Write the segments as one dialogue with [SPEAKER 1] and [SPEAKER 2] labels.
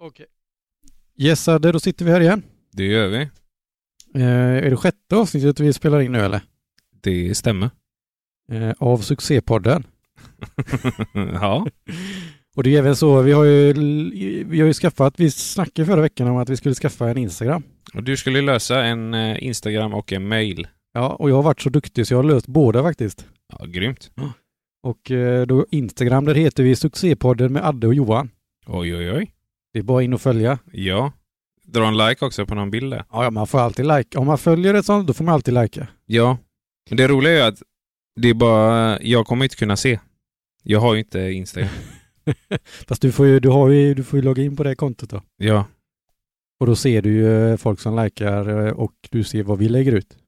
[SPEAKER 1] Okej.
[SPEAKER 2] Yes, Adde, då sitter vi här igen.
[SPEAKER 3] Det gör vi.
[SPEAKER 2] Eh, är det sjätte avsnittet vi spelar in nu eller?
[SPEAKER 3] Det stämmer.
[SPEAKER 2] Eh, av Succépodden.
[SPEAKER 3] ja.
[SPEAKER 2] Och det är även så, vi har ju, vi har ju skaffat, vi snackade förra veckan om att vi skulle skaffa en Instagram.
[SPEAKER 3] Och du skulle lösa en eh, Instagram och en mail.
[SPEAKER 2] Ja, och jag har varit så duktig så jag har löst båda faktiskt.
[SPEAKER 3] Ja, grymt.
[SPEAKER 2] Och eh, då Instagram, där heter vi Succépodden med Adde och Johan.
[SPEAKER 3] Oj, oj, oj.
[SPEAKER 2] Det är bara in och följa.
[SPEAKER 3] Ja. Dra en like också på någon bild där.
[SPEAKER 2] Ja, ja, man får alltid like. Om man följer ett sånt, då får man alltid likea.
[SPEAKER 3] Ja. Men det roliga är att det är bara... Jag kommer inte kunna se. Jag har ju inte Instagram.
[SPEAKER 2] Fast du får ju, du har ju, du får ju logga in på det kontot då.
[SPEAKER 3] ja.
[SPEAKER 2] Och då ser du ju eh, folk som likar eh, och du ser vad vi lägger ut.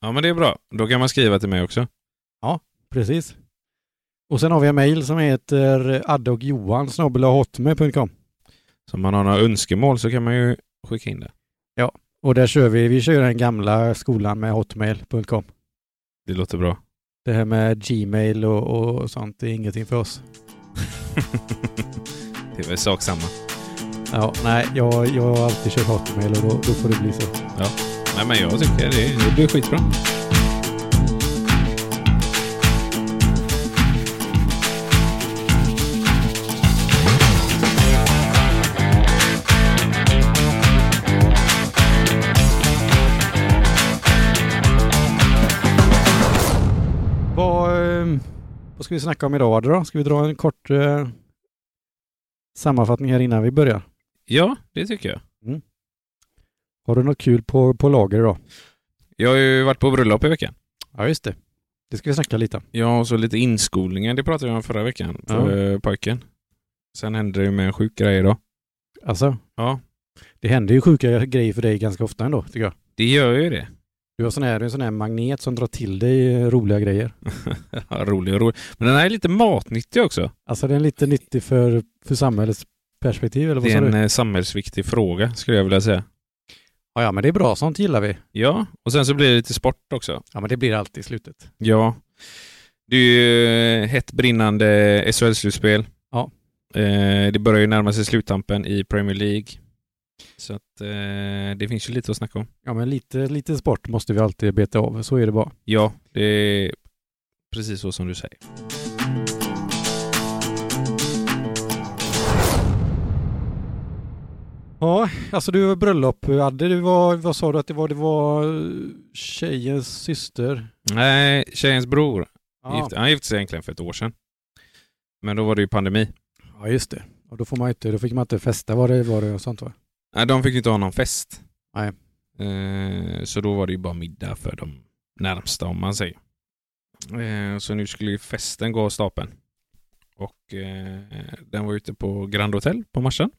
[SPEAKER 3] Ja, men det är bra. Då kan man skriva till mig också.
[SPEAKER 2] Precis. Och sen har vi en mail som heter addeochjohan.hotmail.com
[SPEAKER 3] Så om man har några önskemål så kan man ju skicka in det.
[SPEAKER 2] och där kör vi, vi kör den gamla skolan med hotmail.com.
[SPEAKER 3] Det låter bra.
[SPEAKER 2] Det här med Gmail och, och sånt, det är ingenting för oss.
[SPEAKER 3] det är väl sak samma.
[SPEAKER 2] Ja, nej, jag, jag har alltid kört hotmail och då, då får det bli så.
[SPEAKER 3] Nej, men jag tycker det, det blir skitbra.
[SPEAKER 2] Vad, eh, vad ska vi snacka om idag Adde, då? Ska vi dra en kort eh, sammanfattning här innan vi börjar?
[SPEAKER 3] Ja, det tycker jag.
[SPEAKER 2] Har du något kul på, på lager idag?
[SPEAKER 3] Jag har ju varit på bröllop i veckan.
[SPEAKER 2] Ja, just det. Det ska vi snacka lite om.
[SPEAKER 3] Ja, och så lite inskolningar. Det pratade vi om förra veckan för ja. pojken. Sen hände det ju med en sjuk grej idag.
[SPEAKER 2] Alltså,
[SPEAKER 3] Ja,
[SPEAKER 2] det händer ju sjuka grejer för dig ganska ofta ändå, tycker jag.
[SPEAKER 3] det gör ju det.
[SPEAKER 2] Du har sån här, du är en sån här magnet som drar till dig eh, roliga grejer.
[SPEAKER 3] Ja, rolig och rolig. Men den här är lite matnyttig också.
[SPEAKER 2] Alltså den är lite nyttig för, för samhällets perspektiv eller vad
[SPEAKER 3] Det
[SPEAKER 2] sa
[SPEAKER 3] är en
[SPEAKER 2] du?
[SPEAKER 3] eh, samhällsviktig fråga skulle jag vilja säga.
[SPEAKER 2] Ja, ja, men det är bra. Sånt gillar vi.
[SPEAKER 3] Ja, och sen så blir det lite sport också.
[SPEAKER 2] Ja, men det blir alltid i slutet.
[SPEAKER 3] Ja. Det är ju eh, hett brinnande SHL-slutspel.
[SPEAKER 2] Ja.
[SPEAKER 3] Eh, det börjar ju närma sig sluttampen i Premier League. Så att eh, det finns ju lite att snacka om.
[SPEAKER 2] Ja, men lite, lite sport måste vi alltid beta av. Så är det bara.
[SPEAKER 3] Ja, det är precis så som du säger.
[SPEAKER 2] Ja, alltså du var bröllop, Adde. Du var, vad sa du att det var? Det var eh, tjejens syster.
[SPEAKER 3] Nej, tjejens bror.
[SPEAKER 2] Ja,
[SPEAKER 3] Gifte, han gifte sig egentligen för ett år sedan. Men då var det ju pandemi.
[SPEAKER 2] ja just det. Och då får man inte, då fick man inte festa var det var det och sånt va?
[SPEAKER 3] Nej, de fick ju inte ha någon fest.
[SPEAKER 2] Nej.
[SPEAKER 3] Eh, så då var det ju bara middag för de närmsta om man säger. Eh, så nu skulle ju festen gå av stapeln. Och eh, den var ute på Grand Hotel på Marsan.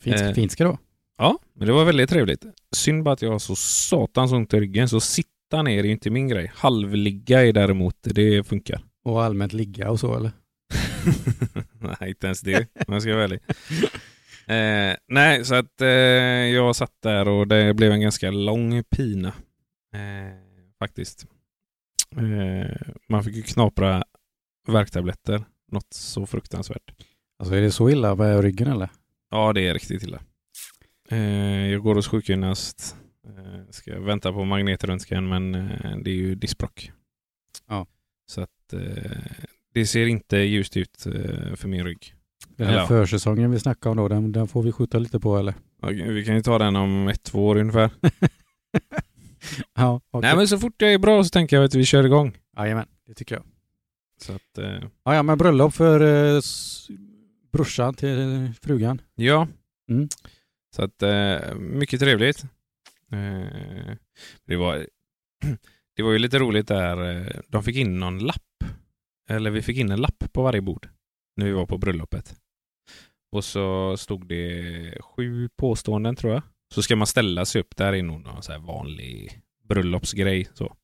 [SPEAKER 2] Fint,
[SPEAKER 3] Eh.
[SPEAKER 2] fint ska det vara.
[SPEAKER 3] Ja, men det var väldigt trevligt. Synd bara att jag har så satans ont i ryggen, så sitta ner är ju inte min grej. Halvligga är däremot, det funkar.
[SPEAKER 2] Och allmänt ligga och så eller?
[SPEAKER 3] nej, inte ens det om jag ska vara ärlig. Eh, nej, så att eh, jag satt där och det blev en ganska lång pina. Eh, faktiskt. Eh, man fick ju knapra värktabletter. Något så fruktansvärt.
[SPEAKER 2] Alltså är det så illa med ryggen eller?
[SPEAKER 3] Ja, det är riktigt illa. Eh, jag går hos sjukgymnast. Eh, ska vänta på magnetröntgen, men eh, det är ju diskbråck.
[SPEAKER 2] Ja.
[SPEAKER 3] Så att eh, det ser inte ljust ut eh, för min rygg.
[SPEAKER 2] Den här
[SPEAKER 3] Eller ja.
[SPEAKER 2] försäsongen vi snackade om då, den, den får vi skjuta lite på eller?
[SPEAKER 3] Okej, vi kan ju ta den om ett, två år ungefär.
[SPEAKER 2] Ja,
[SPEAKER 3] Nej men så fort jag är bra så tänker jag att vi kör igång.
[SPEAKER 2] Jajamän, det tycker jag.
[SPEAKER 3] Så att, eh,
[SPEAKER 2] Ja, ja, men bröllop för eh, s- brorsan till eh, frugan.
[SPEAKER 3] ja.
[SPEAKER 2] Mm.
[SPEAKER 3] Så att, eh, mycket trevligt. Eh, det, var, det var ju lite roligt där, eh, de fick in någon lapp. Eller vi fick in en lapp på varje bord när vi var på bröllopet. Och så stod det sju påståenden tror jag. Så ska man ställa sig upp, där är nog någon så här vanlig bröllopsgrej. Så.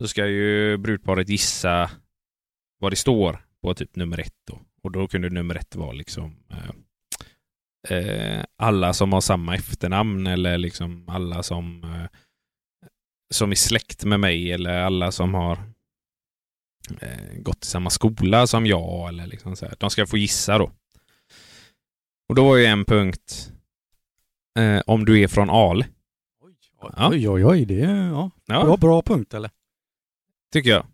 [SPEAKER 3] så ska ju brudparet gissa vad det står på typ nummer ett då. Och då kunde nummer ett vara liksom eh, eh, alla som har samma efternamn eller liksom alla som eh, som är släkt med mig eller alla som har eh, gått i samma skola som jag eller liksom så här. De ska få gissa då. Och då var ju en punkt eh, om du är från Ale.
[SPEAKER 2] Oj,
[SPEAKER 3] Ja.
[SPEAKER 2] oj, oj, oj det är ja.
[SPEAKER 3] Ja,
[SPEAKER 2] Bra, bra punkt eller?
[SPEAKER 3] tycker jag.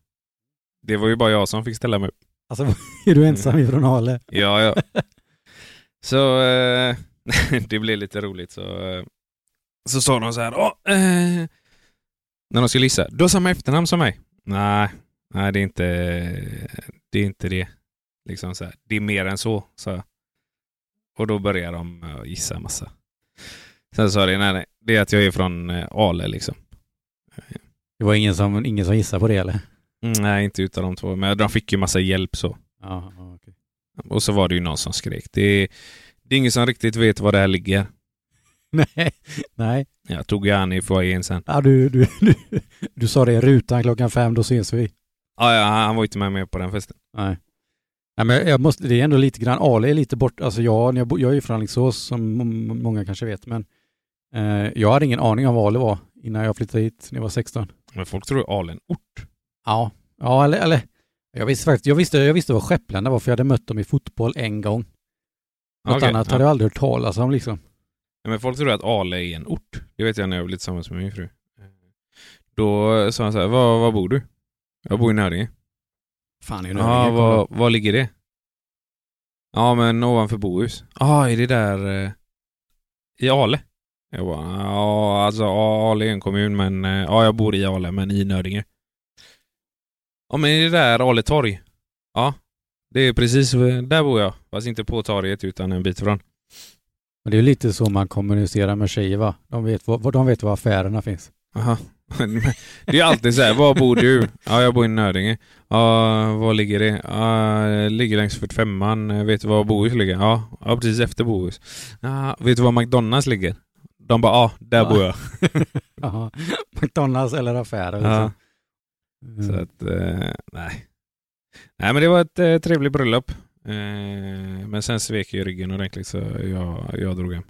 [SPEAKER 3] Det var ju bara jag som fick ställa mig upp.
[SPEAKER 2] Alltså är du ensam ifrån Ale?
[SPEAKER 3] Ja, ja. Så eh, det blev lite roligt. Så, eh, så sa de så här. Åh, eh, när de skulle gissa. Du har samma efternamn som mig. Nej, nej det är inte det. Är inte det. Liksom så här, det är mer än så, sa jag. Och då började de eh, gissa en massa. Sen sa det, nej, nej, det är att jag är från eh, Ale liksom.
[SPEAKER 2] Det var ingen som, ingen som gissade på det eller?
[SPEAKER 3] Mm, nej, inte utav de två. Men de fick ju massa hjälp så.
[SPEAKER 2] Ja, ja, okej.
[SPEAKER 3] Och så var det ju någon som skrek. Det är, det är ingen som riktigt vet var det här ligger.
[SPEAKER 2] Nej, nej.
[SPEAKER 3] Jag tog ju han i foajén sen.
[SPEAKER 2] Ja, du, du, du, du sa det i rutan klockan fem, då ses vi.
[SPEAKER 3] Ah, ja, han var ju inte med mig på den festen.
[SPEAKER 2] Nej. Nej, men jag måste, det är ändå lite grann, Ale är lite bort, alltså jag, när jag, bo- jag är ju från Alingsås som m- m- många kanske vet, men eh, jag hade ingen aning om vad Ale var innan jag flyttade hit när jag var 16.
[SPEAKER 3] Men folk tror ju Alen ort.
[SPEAKER 2] Ja, ja eller, eller jag visste faktiskt, jag visste, jag visste vad Skepplanda var för jag hade mött dem i fotboll en gång. Något
[SPEAKER 3] Okej,
[SPEAKER 2] annat
[SPEAKER 3] ja.
[SPEAKER 2] hade jag aldrig hört talas om liksom.
[SPEAKER 3] Nej, Men folk tror att Ale är en ort. Det vet jag när jag blev tillsammans med min fru. Eh, Då sa han så här, var, var bor du? Jag bor i Nöringe.
[SPEAKER 2] Fan, är ju
[SPEAKER 3] Ja, ah, var, var ligger det? Ja, men ovanför Bohus. Ja, ah, är det där eh, i Ale? Jag bara, ja, alltså ja, Ale är en kommun, men eh, ja, jag bor i Ale, men i Nödinge. Ja, men är det där Ale torg? Ja, det är precis v- där bor jag. Fast inte på torget, utan en bit från.
[SPEAKER 2] Men det är ju lite så man kommunicerar med tjejer va? De vet, var, de vet var affärerna finns.
[SPEAKER 3] Aha. Det är alltid så här, var bor du? Ja, jag bor i Nödinge. Ja, var ligger det? Ja, det ligger längs 45an. Vet du var Bohus ligger? Ja, ja precis efter Bohus. Ja, vet du var McDonalds ligger? De bara, ja, där bor jag.
[SPEAKER 2] Jaha. McDonalds eller affärer.
[SPEAKER 3] Ja,
[SPEAKER 2] Liksom. Mm.
[SPEAKER 3] så att, eh, nej. Nej, men det var ett eh, trevligt bröllop. Eh, men sen svek ju ryggen ordentligt så jag, jag drog hem.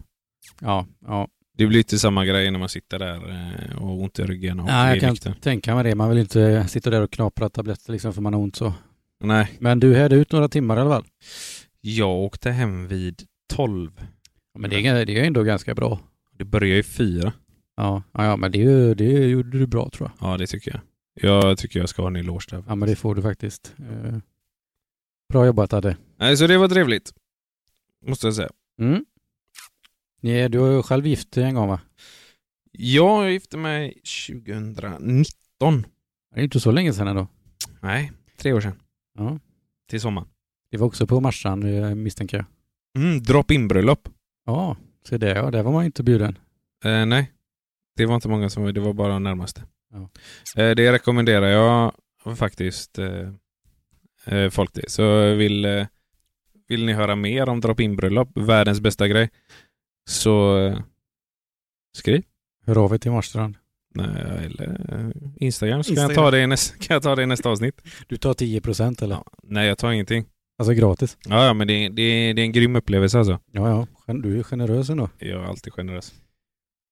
[SPEAKER 2] Ja, ja.
[SPEAKER 3] Det blir inte samma grej när man sitter där eh, och har ont i ryggen och
[SPEAKER 2] Nej, jag
[SPEAKER 3] är
[SPEAKER 2] kan
[SPEAKER 3] nykter.
[SPEAKER 2] tänka mig det. Man vill inte sitta där och knapra tabletter liksom för man har ont så.
[SPEAKER 3] Nej,
[SPEAKER 2] Men du härde ut några timmar i alla fall.
[SPEAKER 3] jag åkte hem vid 12.
[SPEAKER 2] Men det är, det är ändå ganska bra.
[SPEAKER 3] Det börjar ju fyra.
[SPEAKER 2] Ja, ja, ja men det, är ju- det gjorde du bra tror jag.
[SPEAKER 3] Ja, det tycker jag. Jag tycker jag ska ha en eloge där.
[SPEAKER 2] Ja, men det får du faktiskt. Eh, Bra jobbat Adde.
[SPEAKER 3] Nej, så det var trevligt. Måste jag säga.
[SPEAKER 2] Mm. Nej, du var ju själv gift en gång va?
[SPEAKER 3] Jag gifte mig 2019.
[SPEAKER 2] Det är inte så länge sedan ändå.
[SPEAKER 3] Nej, tre år sedan.
[SPEAKER 2] Ja.
[SPEAKER 3] Till sommaren.
[SPEAKER 2] Det var också på Marstrand eh, misstänker jag.
[SPEAKER 3] Mm, drop-in bröllop.
[SPEAKER 2] Ja, se det ja. Där var man ju inte bjuden.
[SPEAKER 3] Eh, nej, det var inte många som var. Det var bara de närmaste.
[SPEAKER 2] Ja.
[SPEAKER 3] Eh, det rekommenderar jag faktiskt eh, eh, folk till. Så vill, eh, vill ni höra mer om drop-in bröllop, världens bästa grej, så eh, skriv.
[SPEAKER 2] Hör av er till Marstrand.
[SPEAKER 3] Nej, eller eh, Instagram. Ska
[SPEAKER 2] Instagram.
[SPEAKER 3] Jag ta det i nästa, kan jag ta det i nästa avsnitt?
[SPEAKER 2] Du tar 10 procent eller?
[SPEAKER 3] Ja. Nej, jag tar ingenting.
[SPEAKER 2] Alltså gratis.
[SPEAKER 3] Ja, ja men det, det, det är en grym upplevelse alltså.
[SPEAKER 2] Ja, ja. Gen- Du är generös ändå.
[SPEAKER 3] Jag är alltid generös.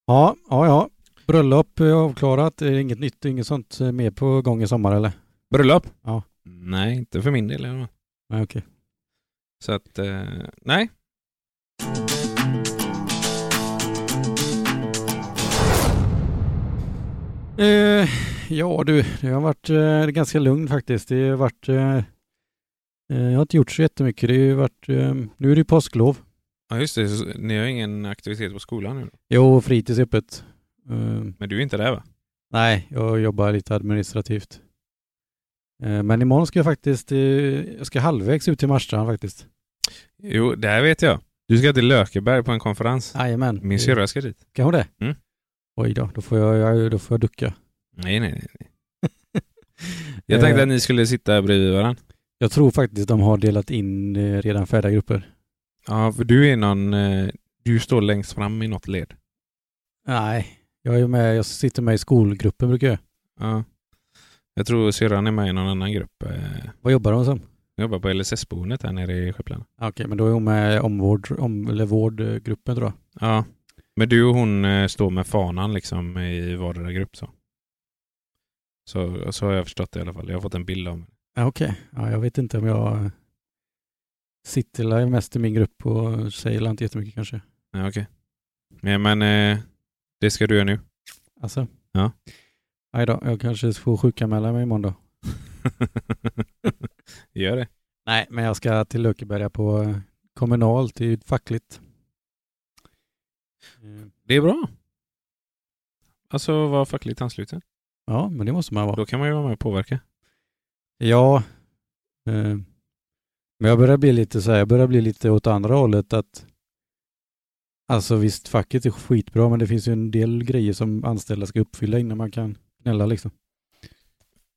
[SPEAKER 2] Ja, ja, ja. Bröllop är avklarat. Det är inget nytt, inget sånt eh, mer på gång i sommar eller?
[SPEAKER 3] Bröllop?
[SPEAKER 2] Ja.
[SPEAKER 3] Nej, inte för min del. i alla fall.
[SPEAKER 2] Nej, Ah, okej.
[SPEAKER 3] Så att, eh, nej.
[SPEAKER 2] Eh, ja du, det har varit eh, ganska lugnt faktiskt. Det har varit... Eh, eh, jag har inte gjort så jättemycket. Det har ju varit... Eh, nu är det ju påsklov.
[SPEAKER 3] Ja, just det. Så, ni har ingen aktivitet på skolan nu.
[SPEAKER 2] Jo, fritids är öppet. Eh,
[SPEAKER 3] Men du är inte där va?
[SPEAKER 2] nej, jag jobbar lite administrativt. Eh, men imorgon ska jag faktiskt... Eh, jag ska halvvägs ut till Marstrand faktiskt.
[SPEAKER 3] Jo, det här vet jag. Du ska till Lökeberg på en konferens.
[SPEAKER 2] Jajamän.
[SPEAKER 3] Min syrra ska dit.
[SPEAKER 2] Kan hon det?
[SPEAKER 3] Mm.
[SPEAKER 2] Oj då, då får jag, jag, då får jag ducka.
[SPEAKER 3] Nej, nej, nej. Jag tänkte
[SPEAKER 2] Eh,
[SPEAKER 3] att ni skulle sitta bredvid varandra.
[SPEAKER 2] Jag tror faktiskt de har delat in eh, redan färdiga grupper.
[SPEAKER 3] Ja, för du är någon... eh, Du står längst fram i något led.
[SPEAKER 2] Nej, jag är med, jag sitter med i skolgruppen brukar jag.
[SPEAKER 3] Ja. Jag tror syrran är med i någon annan grupp. eh,
[SPEAKER 2] Vad jobbar hon som?
[SPEAKER 3] Jag jobbar på LSS-boendet här nere i Skepplanda.
[SPEAKER 2] Ah, Okej, men då är hon med i omvård, om, eller vårdgruppen tror jag.
[SPEAKER 3] Ja. Men du och hon eh, står med fanan liksom i vardera grupp så. Så, så har jag förstått det i alla fall. Jag har fått en bild av mig.
[SPEAKER 2] Ja, Okej, ja, jag vet inte om jag Citylive mest i min grupp och säger inte jättemycket kanske.
[SPEAKER 3] Ja, okej. Nej, men eh, det ska du göra nu.
[SPEAKER 2] Alltså.
[SPEAKER 3] Ja.
[SPEAKER 2] Aj då, jag kanske får sjukanmäla mig imorgon då.
[SPEAKER 3] Gör det.
[SPEAKER 2] Nej, men jag ska till Lökeberga på eh, kommunalt, det är ju fackligt. Eh,
[SPEAKER 3] Det är bra. Alltså vara fackligt ansluten.
[SPEAKER 2] Ja, men det måste man vara.
[SPEAKER 3] Då kan man ju vara med och påverka.
[SPEAKER 2] Ja. Eh, Men jag börjar bli lite så här, jag börjar bli lite åt andra hållet att Alltså visst, facket är skitbra men det finns ju en del grejer som anställda ska uppfylla innan man kan knälla liksom.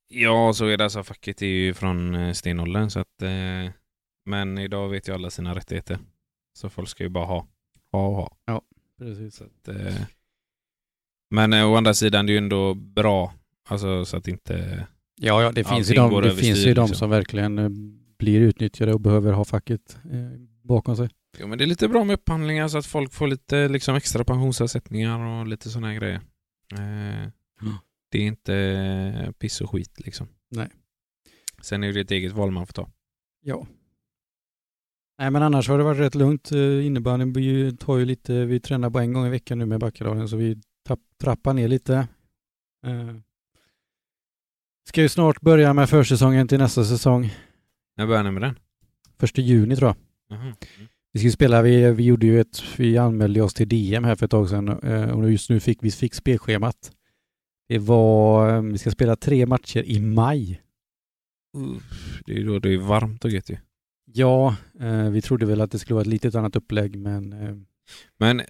[SPEAKER 3] Ja, så är det. Alltså, facket är ju från eh, stenåldern. Så att, eh, men idag vet ju alla sina rättigheter. Så folk ska ju bara ha. Ha och ha.
[SPEAKER 2] Precis.
[SPEAKER 3] Så att, eh, men eh, å andra sidan, det är ju ändå bra. Alltså så att inte...
[SPEAKER 2] Ja, ja det finns ju
[SPEAKER 3] Allting
[SPEAKER 2] de,
[SPEAKER 3] går
[SPEAKER 2] det
[SPEAKER 3] över
[SPEAKER 2] finns
[SPEAKER 3] styr,
[SPEAKER 2] ju de
[SPEAKER 3] liksom.
[SPEAKER 2] som verkligen eh, blir utnyttjade och behöver ha facket eh, bakom sig.
[SPEAKER 3] Jo, men det är lite bra med upphandlingar så att folk får lite liksom, extra pensionsavsättningar och lite sådana här grejer. Eh,
[SPEAKER 2] Ja.
[SPEAKER 3] Det är inte eh, piss och skit liksom.
[SPEAKER 2] Nej.
[SPEAKER 3] Sen är det ett eget val man får ta.
[SPEAKER 2] Ja. Nej men annars har det varit rätt lugnt. Eh, Innebandyn blir ju- tar ju lite, vi tränar bara en gång i veckan nu med Backadalen så vi tapp, trappar ner lite. Eh, Ska ju snart börja med försäsongen till nästa säsong.
[SPEAKER 3] När börjar ni med den?
[SPEAKER 2] Första juni tror jag.
[SPEAKER 3] Jaha.
[SPEAKER 2] Vi ska ju spela, vi, vi gjorde ju ett, vi anmälde oss till DM här för ett tag sedan eh, och just nu fick vi fick spelschemat. Det var, eh, vi ska spela tre matcher i maj.
[SPEAKER 3] Uff, Det är ju då det är varmt och gött ju.
[SPEAKER 2] Ja, eh, vi trodde väl att det skulle vara ett litet annat upplägg men eh,
[SPEAKER 3] Men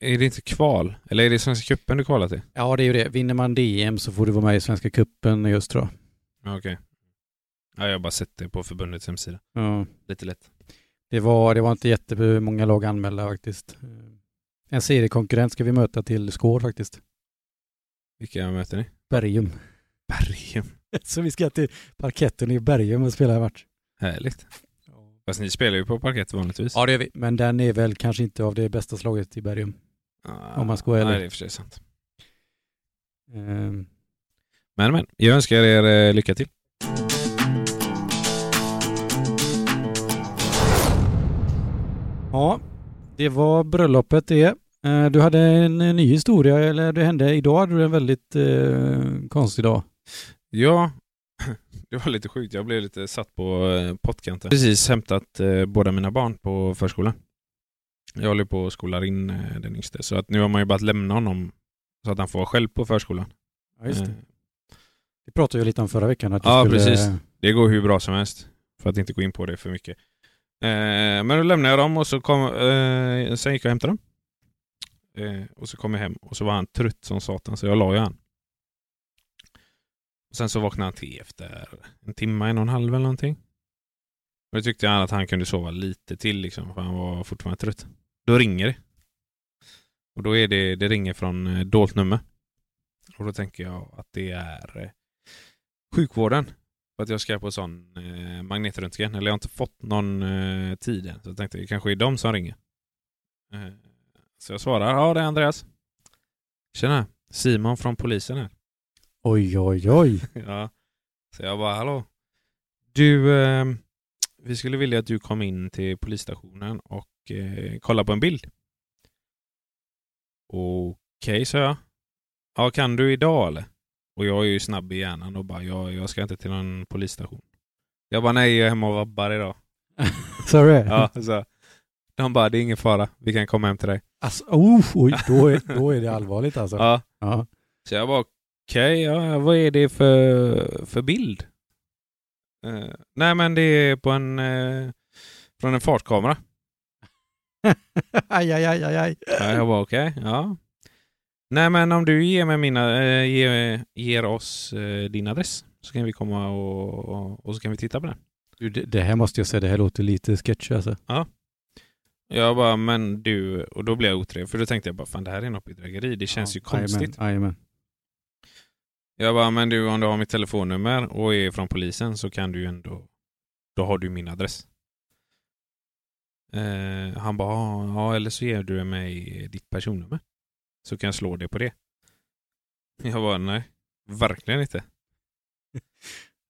[SPEAKER 3] är det inte kval? Eller är det Svenska cupen du kvalar till?
[SPEAKER 2] Ja, det är ju det. Vinner man DM så får du vara med i Svenska Cupen just då.
[SPEAKER 3] Ja, Okej. Ja, jag har bara sett det på förbundets hemsida.
[SPEAKER 2] Ja.
[SPEAKER 3] Lite lätt.
[SPEAKER 2] Det, var, det var inte jättemånga lag anmälda faktiskt. Eh, En seriekonkurrent ska vi möta till Skår faktiskt.
[SPEAKER 3] Vilka möter ni?
[SPEAKER 2] Bergum.
[SPEAKER 3] Bergen.
[SPEAKER 2] Så vi ska till parketten i Bergum och spela en match.
[SPEAKER 3] Härligt. Fast ni spelar ju på parkett vanligtvis.
[SPEAKER 2] Ja, det gör vi. Men den är väl kanske inte av det bästa slaget i Bergum.
[SPEAKER 3] Ah,
[SPEAKER 2] om man ska vara ärlig.
[SPEAKER 3] Nej, det är i och för sig sant.
[SPEAKER 2] Eh,
[SPEAKER 3] Men men, jag önskar er eh, lycka till.
[SPEAKER 2] Ja, det var bröllopet det. Eh, Du hade en eh, ny historia, eller det hände idag, hade du en väldigt eh, konstig dag.
[SPEAKER 3] Ja, det var lite sjukt. Jag blev lite satt på eh, pottkanten. Precis hämtat eh, båda mina barn på förskolan. Jag håller på och skolar in eh, den yngste. Så att nu har man ju bara att lämna honom så att han får vara själv på förskolan.
[SPEAKER 2] Ja, just det.
[SPEAKER 3] Eh,
[SPEAKER 2] Det pratade vi lite om förra veckan. Att du
[SPEAKER 3] Ja,
[SPEAKER 2] skulle...
[SPEAKER 3] precis. Det går hur bra som helst. För att inte gå in på det för mycket. Eh, men då lämnade jag dem och så kom, eh, sen gick jag och hämtade dem. Eh, och så kom jag hem och så var han trött som satan så jag la ju han. Och sen så vaknade han till efter en timme, en och en halv eller någonting. Och då tyckte jag att han kunde sova lite till liksom för han var fortfarande trött. Då ringer det. Och då är det, det ringer från eh, dolt nummer. Och då tänker jag att det är eh, sjukvården. För att jag ska på sån eh, magnetröntgen. Eller jag har inte fått någon eh, tid än. Så jag tänkte det kanske är de som ringer. Eh, så jag svarar. Ja, det är Andreas. Tjena. Simon från polisen här.
[SPEAKER 2] Oj, oj, oj.
[SPEAKER 3] ja. Så jag bara, hallå. Du, eh, vi skulle vilja att du kom in till polisstationen och eh, kolla på en bild. Okej, sa jag. Ja, kan du idag eller? Och jag är ju snabb i hjärnan och bara, jag, jag ska inte till någon polisstation. Jag bara, nej, jag är hemma och vabbar idag.
[SPEAKER 2] Så är det?
[SPEAKER 3] Ja, så. De bara, det är ingen fara, vi kan komma hem till dig.
[SPEAKER 2] Alltså, oh, oj, då är, då är det allvarligt alltså. Ja.
[SPEAKER 3] Ja. Så jag bara, okej, ja, vad är det för, för bild? Eh, nej, men det är på en, eh, från en fartkamera.
[SPEAKER 2] aj, aj, aj, aj, aj.
[SPEAKER 3] Ja, jag bara, okej, ja. Nej, men om du ger, mig mina, eh, ger, ger oss eh, din adress så kan vi komma och, och, och så kan vi titta på den.
[SPEAKER 2] Du, det, det här måste jag säga, det här låter lite sketchy alltså.
[SPEAKER 3] Jag bara, men du, och då blev jag otrevlig för då tänkte jag bara, fan det här är något bedrägeri, det känns ju konstigt.
[SPEAKER 2] Jajamän, jajamän.
[SPEAKER 3] Jag bara, men du om du har mitt telefonnummer och är från polisen så kan du ju ändå, då har du min adress. Eh, han bara, "Ja, ja eller så ger du mig ditt personnummer. Så kan jag slå det på det. Jag bara, nej, verkligen inte.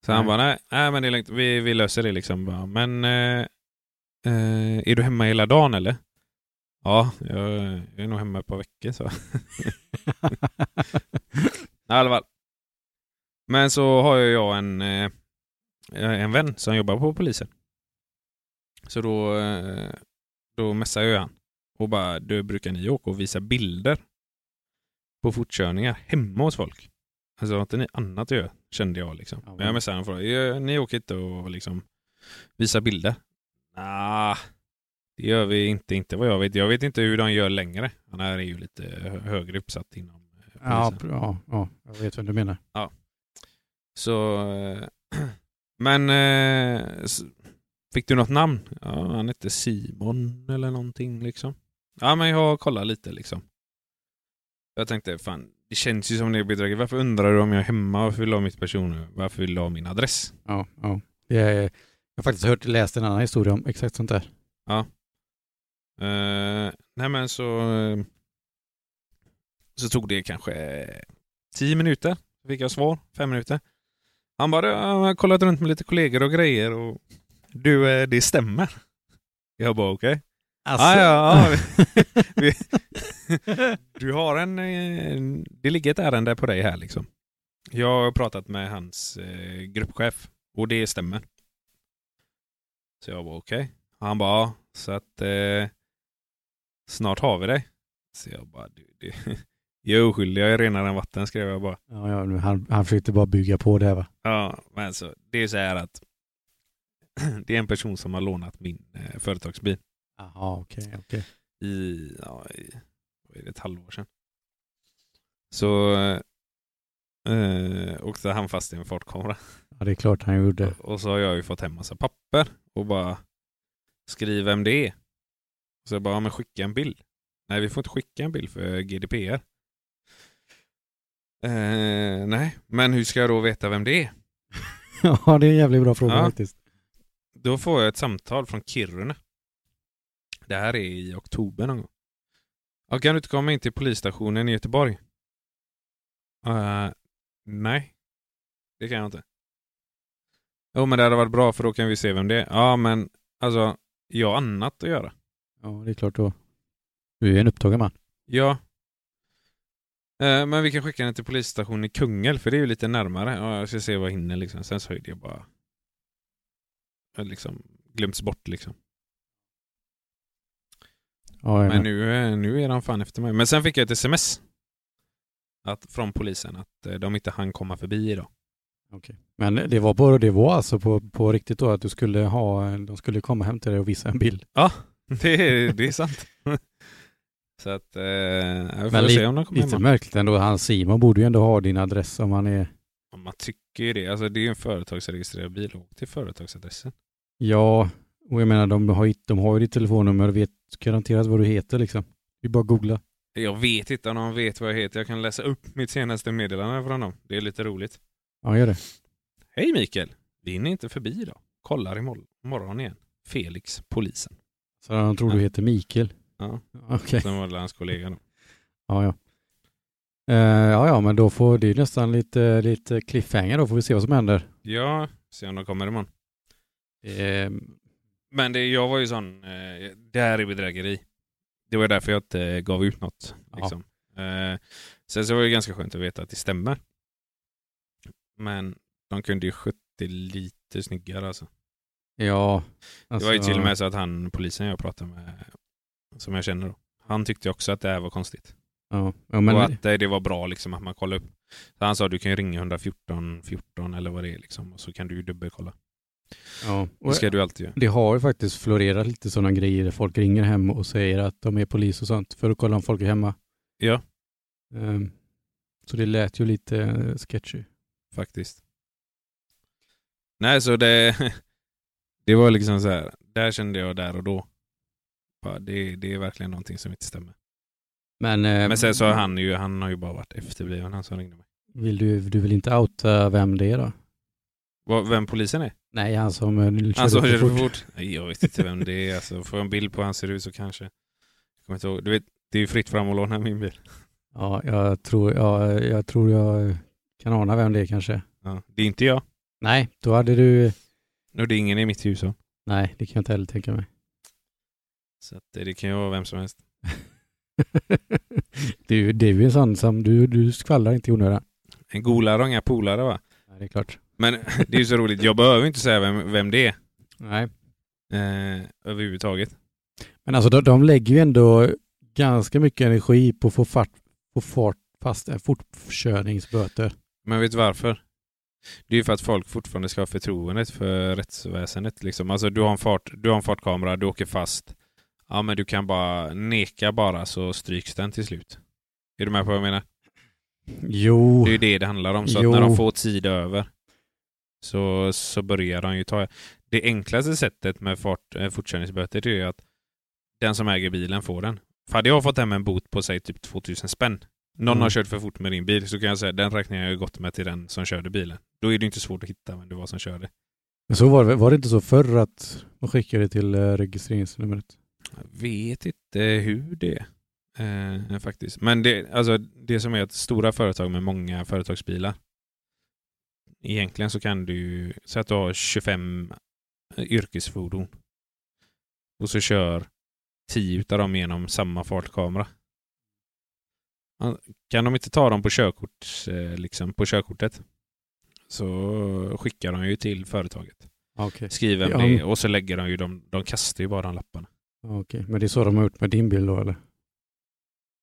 [SPEAKER 3] Så
[SPEAKER 2] Nej.
[SPEAKER 3] han bara, nej, nej men det är lugnt, vi, vi löser det liksom. Bara, men eh, Eh, är du hemma hela dagen eller? Ja, jag, jag är nog hemma ett par veckor, så. I alla fall. Men så har ju jag en, eh, en vän som jobbar på polisen. Så då, eh, då messar jag han och bara, du brukar ni åka och visa bilder på fortkörningar hemma hos folk? Alltså har inte ni annat att göra? Kände jag liksom.
[SPEAKER 2] Ja,
[SPEAKER 3] Men
[SPEAKER 2] men-
[SPEAKER 3] jag messade honom och frågade, "Eh, ni åker inte och liksom visa bilder? Nah, det gör vi inte, inte vad jag vet. Jag vet inte hur de gör längre. Han här är ju lite hö- högre uppsatt inom eh, polisen.
[SPEAKER 2] Ja, pr- ja, ja, jag vet vad du menar.
[SPEAKER 3] Så... eh, Men... eh, s- Fick du något namn? Ja, han hette Simon eller någonting liksom. Ja, men jag kollar lite liksom. Jag tänkte, fan, det känns ju som det är bedrägeri. Varför undrar du om jag är hemma? Varför vill du ha mitt personnummer? Varför vill du ha min adress?
[SPEAKER 2] Ja, ja. Det är, jag har faktiskt hört, läst en annan historia om exakt sånt där.
[SPEAKER 3] Eh, nej, men så... eh, så tog det kanske eh, tio minuter. Så fick jag svar. Fem minuter. Han bara, "Ja, jag har kollat runt med lite kollegor och grejer och du, eh, det stämmer. Jag bara, okej.
[SPEAKER 2] Alltså,
[SPEAKER 3] Ah, Ja, ja, ja. Vi- du har en, eh, en... Det ligger ett ärende på dig här liksom. Jag har pratat med hans eh, gruppchef och det stämmer. Så jag bara okej. Han bara ja, så att eh, snart har vi dig. Så jag bara du, det, jag är oskyldig, jag är renare än vatten skrev jag bara.
[SPEAKER 2] ja, ja, nu, han, han försökte bara bygga på det här va?
[SPEAKER 3] Ja, men alltså det är så här att det är en person som har lånat min eh, företagsbil.
[SPEAKER 2] Jaha, okej. Okay,
[SPEAKER 3] i, ja, i vad är det, ett halvår sedan. Så eh, åkte han fast i en fartkamera.
[SPEAKER 2] Ja, det är klart han gjorde.
[SPEAKER 3] Och så har jag ju fått hem massa papper och bara skriv vem det är. Så jag bara, ja, men skicka en bild. Nej, vi får inte skicka en bild för GDPR. Eh, nej, men hur ska jag då veta vem det är?
[SPEAKER 2] ja, det är en jävligt bra fråga
[SPEAKER 3] Ja.
[SPEAKER 2] faktiskt.
[SPEAKER 3] Då får jag ett samtal från Kiruna. Det här är i oktober någon gång. Ja, kan du inte komma in till polisstationen i Göteborg? Eh, nej, det kan jag inte. Jo, men det hade varit bra för då kan vi se vem det är. Ja, men alltså, jag har annat att göra.
[SPEAKER 2] Ja, det är klart då. Du är ju en upptagen man.
[SPEAKER 3] Ja. Eh, men vi kan skicka den till polisstationen i Kungälv för det är ju lite närmare. Ja, jag ska se vad jag hinner liksom. Sen så är det bara... jag Liksom glömts bort liksom.
[SPEAKER 2] Ja, jag
[SPEAKER 3] Men
[SPEAKER 2] men
[SPEAKER 3] nu, eh, nu är han fan efter mig. Men sen fick jag ett sms att, från polisen att eh, de inte hann komma förbi idag.
[SPEAKER 2] men det var, på, det var alltså på, på riktigt då att du skulle ha, de skulle komma hem till dig och visa en bild.
[SPEAKER 3] Det, är- det är sant. Så att eh, jag får
[SPEAKER 2] Men
[SPEAKER 3] väl
[SPEAKER 2] li-
[SPEAKER 3] se om de kommer
[SPEAKER 2] Lite
[SPEAKER 3] hem.
[SPEAKER 2] märkligt ändå. Han Simon borde ju ändå ha din adress om han är...
[SPEAKER 3] Man tycker ju det. Alltså det är ju en företagsregistrerad bil. Åk till företagsadressen.
[SPEAKER 2] Ja, och jag menar de har, ju- de har ju ditt telefonnummer och vet garanterat vad du heter liksom. Det är bara att googla.
[SPEAKER 3] Jag vet inte om de vet vad jag heter. Jag kan läsa upp mitt senaste meddelande från dem. Det är lite roligt.
[SPEAKER 2] Ja, gör det.
[SPEAKER 3] Hej Mikael! Vi hinner inte förbi idag. Kollar imorgon igen. Felix, polisen.
[SPEAKER 2] Så han tror du heter Mikael.
[SPEAKER 3] Ja.
[SPEAKER 2] Okej.
[SPEAKER 3] Som var hans kollega då.
[SPEAKER 2] Ja, ja. Eh, ja, ja, men då får det är nästan lite, lite cliffhanger då får vi se vad som händer.
[SPEAKER 3] Ja, se om de kommer imorgon.
[SPEAKER 2] Eh,
[SPEAKER 3] Men det, jag var ju sån, eh, det här är bedrägeri. Det var ju därför jag inte eh, gav ut något. Liksom. Eh, sen så var det ganska skönt att veta att det stämmer. Men de kunde ju skött det lite snyggare alltså.
[SPEAKER 2] ja.
[SPEAKER 3] Det var ju
[SPEAKER 2] Alltså-
[SPEAKER 3] till och med så att han, polisen jag pratade med, som jag känner då, han tyckte också att det här var konstigt.
[SPEAKER 2] Ja, ja, men,
[SPEAKER 3] och att eh, det var bra liksom att man kollar upp. Så han sa du kan ju ringa 114 14 eller vad det är liksom och så kan du ju dubbelkolla.
[SPEAKER 2] ja.
[SPEAKER 3] Det
[SPEAKER 2] Och,
[SPEAKER 3] ska du alltid göra.
[SPEAKER 2] det har ju faktiskt florerat lite sådana grejer där folk ringer hem och säger att de är polis och sånt för att kolla om folk är hemma.
[SPEAKER 3] Ja.
[SPEAKER 2] Eh, så det lät ju lite eh, sketchy.
[SPEAKER 3] faktiskt. Nej, så det, det var liksom så här. Där kände jag där och då. Bara, det, det är verkligen någonting som inte stämmer.
[SPEAKER 2] Men, eh,
[SPEAKER 3] Men sen så har han ju, han har ju bara varit efterbliven, han som ringde mig.
[SPEAKER 2] Vill du, du vill inte outa vem det är då?
[SPEAKER 3] Vad, vem polisen är?
[SPEAKER 2] Nej, han som eh, körde
[SPEAKER 3] Han som
[SPEAKER 2] för
[SPEAKER 3] körde för
[SPEAKER 2] fort.
[SPEAKER 3] fort? Nej, jag vet inte vem det är. Alltså, får jag en bild på hur han ser ut så kanske. Jag kommer inte ihåg. Du vet, det är ju fritt fram att låna min bil.
[SPEAKER 2] Ja, jag tror, ja, jag tror jag kan ana vem det är kanske.
[SPEAKER 3] Ja, det är inte jag.
[SPEAKER 2] Nej, då hade du...
[SPEAKER 3] Och det är ingen i mitt hus. så.
[SPEAKER 2] Nej, det kan jag inte heller tänka mig.
[SPEAKER 3] Så att eh, det, det kan ju vara vem som helst.
[SPEAKER 2] du, det är ju en sån som du, du skvallrar inte i onödan.
[SPEAKER 3] En golare har inga polare va?
[SPEAKER 2] Nej, det är klart.
[SPEAKER 3] Men det är ju så roligt, jag behöver inte säga vem, vem det är
[SPEAKER 2] Nej.
[SPEAKER 3] eh, överhuvudtaget.
[SPEAKER 2] Men alltså de, de lägger ju ändå ganska mycket energi på att få fart, få fart fast eh, fortkörningsböter.
[SPEAKER 3] Men vet du varför? Det är ju för att folk fortfarande ska ha förtroendet för rättsväsendet. Liksom. Alltså, du, har en fart, du har en fartkamera, du åker fast. Ja, men du kan bara neka bara så stryks den till slut. Är du med på vad jag menar?
[SPEAKER 2] Jo,
[SPEAKER 3] Det är ju det det handlar om. Så att
[SPEAKER 2] Jo.
[SPEAKER 3] när de får tid över så, så börjar de ju ta... Det enklaste sättet med fart, eh, fortkörningsböter det är ju att den som äger bilen får den. För hade jag fått hem en bot på sig typ 2000 spänn. Någon
[SPEAKER 2] Mm.
[SPEAKER 3] har kört för fort med din bil så kan jag säga den räkningen har jag gått med till den som körde bilen. Då är det ju inte svårt att hitta vem det var som körde.
[SPEAKER 2] men så var det, var det inte så förr att man skickade till eh, registreringsnumret?
[SPEAKER 3] Jag vet inte hur det är eh, faktiskt. Men det, alltså, det som är att stora företag med många företagsbilar. Egentligen så kan du ju, säg att du har 25 yrkesfordon. Och så kör 10 utav dem genom samma fartkamera. Ja, Kan de inte ta dem på, körkort, eh, liksom, på körkortet så skickar de ju till företaget.
[SPEAKER 2] Okej.
[SPEAKER 3] Skriver
[SPEAKER 2] Ja,
[SPEAKER 3] om det
[SPEAKER 2] men-
[SPEAKER 3] och så lägger de ju dem, de kastar ju bara de lapparna.
[SPEAKER 2] Okej, men det är så de har gjort med din bil då eller?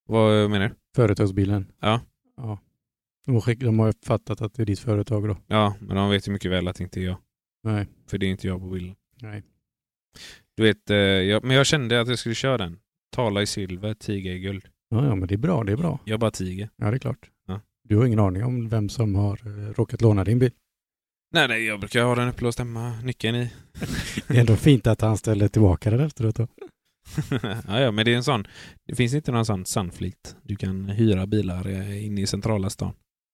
[SPEAKER 3] Vad eh, menar du?
[SPEAKER 2] Företagsbilen?
[SPEAKER 3] Ja.
[SPEAKER 2] ja. De, har skick, de har uppfattat att det är ditt företag då?
[SPEAKER 3] Ja, men de vet ju mycket väl att det inte är jag.
[SPEAKER 2] Nej.
[SPEAKER 3] För det är inte jag på bilden.
[SPEAKER 2] Nej.
[SPEAKER 3] Du vet, eh, jag, men jag kände att jag skulle köra den. Tala i silver, tiga i guld.
[SPEAKER 2] Ja, ja, men det är bra, det är bra.
[SPEAKER 3] Jag bara tiger.
[SPEAKER 2] Ja, det är klart.
[SPEAKER 3] Ja.
[SPEAKER 2] Du har ingen aning om vem som har eh, råkat låna din bil.
[SPEAKER 3] Nej, nej, jag brukar ha den upplåst hemma. Nyckeln i.
[SPEAKER 2] Det är ändå fint att han ställer tillbaka det efteråt då.
[SPEAKER 3] ja, ja, men det är en sån. Det finns inte någon sån sandflit. Du kan hyra bilar eh, inne i centrala stan.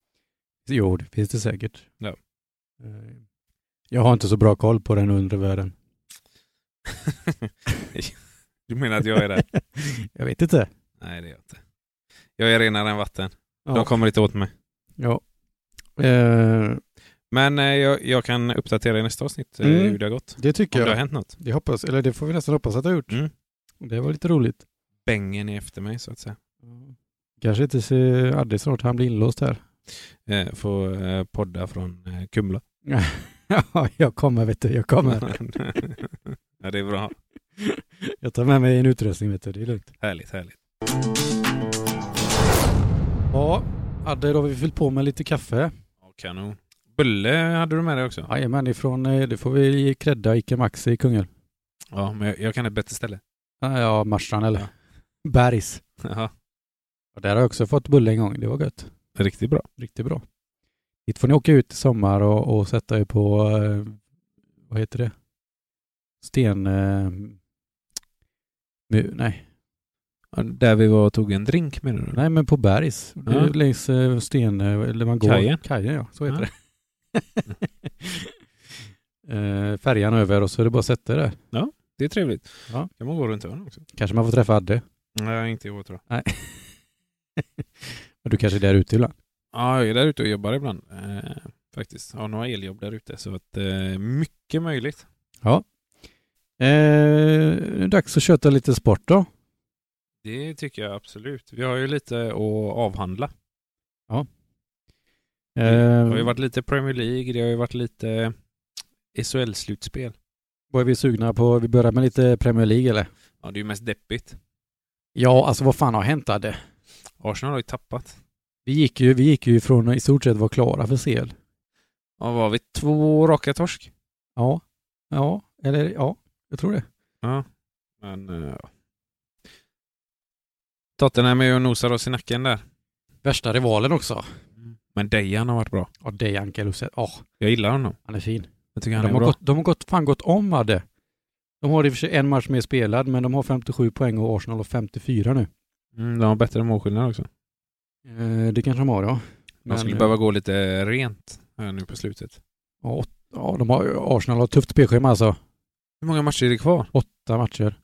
[SPEAKER 2] Jo, det finns det säkert.
[SPEAKER 3] Ja.
[SPEAKER 2] Eh, Jag har inte så bra koll på den undre världen.
[SPEAKER 3] du menar att jag är där?
[SPEAKER 2] jag vet inte.
[SPEAKER 3] nej, det är jag inte. Jag är renare än vatten.
[SPEAKER 2] Ja.
[SPEAKER 3] De kommer inte åt mig.
[SPEAKER 2] ja. Eh,
[SPEAKER 3] Men eh, jag, jag kan uppdatera i nästa avsnitt eh,
[SPEAKER 2] Mm.
[SPEAKER 3] hur det har gått.
[SPEAKER 2] det
[SPEAKER 3] Om
[SPEAKER 2] tycker
[SPEAKER 3] det har
[SPEAKER 2] jag.
[SPEAKER 3] hänt något.
[SPEAKER 2] Det hoppas, eller det får vi nästan hoppas att det har gjort.
[SPEAKER 3] Mm.
[SPEAKER 2] Det var lite roligt.
[SPEAKER 3] Bängen är efter mig så att säga.
[SPEAKER 2] Kanske inte se Adde snart, han blir inlåst här.
[SPEAKER 3] eh, få eh, podda från eh, Kumla.
[SPEAKER 2] Ja, jag kommer vet du, jag kommer.
[SPEAKER 3] ja, det är bra.
[SPEAKER 2] Jag tar med mig en utrustning vet du, det är lugnt.
[SPEAKER 3] Härligt, härligt.
[SPEAKER 2] Ja, Adde, då har vi fyllt på med lite kaffe.
[SPEAKER 3] Ja, kanon. Bulle hade du med dig också?
[SPEAKER 2] Jajamän, ifrån, eh, det får vi ge credda Ica Maxi i Kungälv.
[SPEAKER 3] Ja, men jag, jag kan ett bättre ställe.
[SPEAKER 2] Ah, Ja, Marstrand eller Bergs.
[SPEAKER 3] Jaha,
[SPEAKER 2] Och där har jag också fått bulle en gång, det var gött.
[SPEAKER 3] riktigt bra.
[SPEAKER 2] Riktigt bra. Dit får ni åka ut i sommar och, och sätta er på, eh, vad heter det? Sten... Eh, mu, nej.
[SPEAKER 3] Ja, Där vi var och tog en drink menar du?
[SPEAKER 2] Nej, men på Bergs. Det är
[SPEAKER 3] Ja.
[SPEAKER 2] ju Längs eh, sten... eh, Eller man går.
[SPEAKER 3] Kajen.
[SPEAKER 2] Kajen, ja. Så heter
[SPEAKER 3] Ja.
[SPEAKER 2] det. Eh, Färjan över och så är det bara att sätta det.
[SPEAKER 3] Det är trevligt.
[SPEAKER 2] Ja.
[SPEAKER 3] Kan man gå runt hörnet också?
[SPEAKER 2] Kanske man får träffa Adde.
[SPEAKER 3] Nej, inte i år tror jag.
[SPEAKER 2] Och Du kanske är där ute ibland.
[SPEAKER 3] Ja, jag är där ute och jobbar ibland. Eh, faktiskt. Har några eljobb där ute. Så att eh, mycket möjligt.
[SPEAKER 2] Eh, nu är det dags att köta lite sport då.
[SPEAKER 3] Det tycker jag absolut. Vi har ju lite att avhandla.
[SPEAKER 2] Eh,
[SPEAKER 3] Det Mm. har ju varit lite Premier League, det har ju varit lite SHL-slutspel.
[SPEAKER 2] Vad är vi sugna på? Vi börjar med lite Premier League eller?
[SPEAKER 3] Ja, det är ju mest deppigt.
[SPEAKER 2] Ja, alltså vad fan har hänt Adde?
[SPEAKER 3] Arsenal har ju tappat.
[SPEAKER 2] Vi gick ju, vi gick ju från att i stort sett vara klara för CL.
[SPEAKER 3] Ja, var vi två raka torsk?
[SPEAKER 2] Ja. Ja, eller ja, jag tror det.
[SPEAKER 3] Ja. Men... eh, ja. Tottenham är ju och nosar oss i nacken där.
[SPEAKER 2] Värsta rivalen också.
[SPEAKER 3] Men Dejan har varit bra.
[SPEAKER 2] Ja, det är Anka Lucet. Ja,
[SPEAKER 3] Jag gillar honom.
[SPEAKER 2] han är fin.
[SPEAKER 3] Jag tycker han
[SPEAKER 2] de,
[SPEAKER 3] är
[SPEAKER 2] har
[SPEAKER 3] bra.
[SPEAKER 2] gått, de har gått, fan gått om Adde. De har i och för sig en match mer spelad, men de har 57 poäng och Arsenal har 54 nu.
[SPEAKER 3] Mm, de har bättre målskillnad också.
[SPEAKER 2] Eh, det kanske de har, ja.
[SPEAKER 3] De
[SPEAKER 2] Men,
[SPEAKER 3] skulle
[SPEAKER 2] eh,
[SPEAKER 3] behöva gå lite rent här nu på slutet.
[SPEAKER 2] ja, åt- ja, de har, Arsenal har ett tufft spelschema alltså.
[SPEAKER 3] Hur många matcher är det kvar?
[SPEAKER 2] Åtta matcher.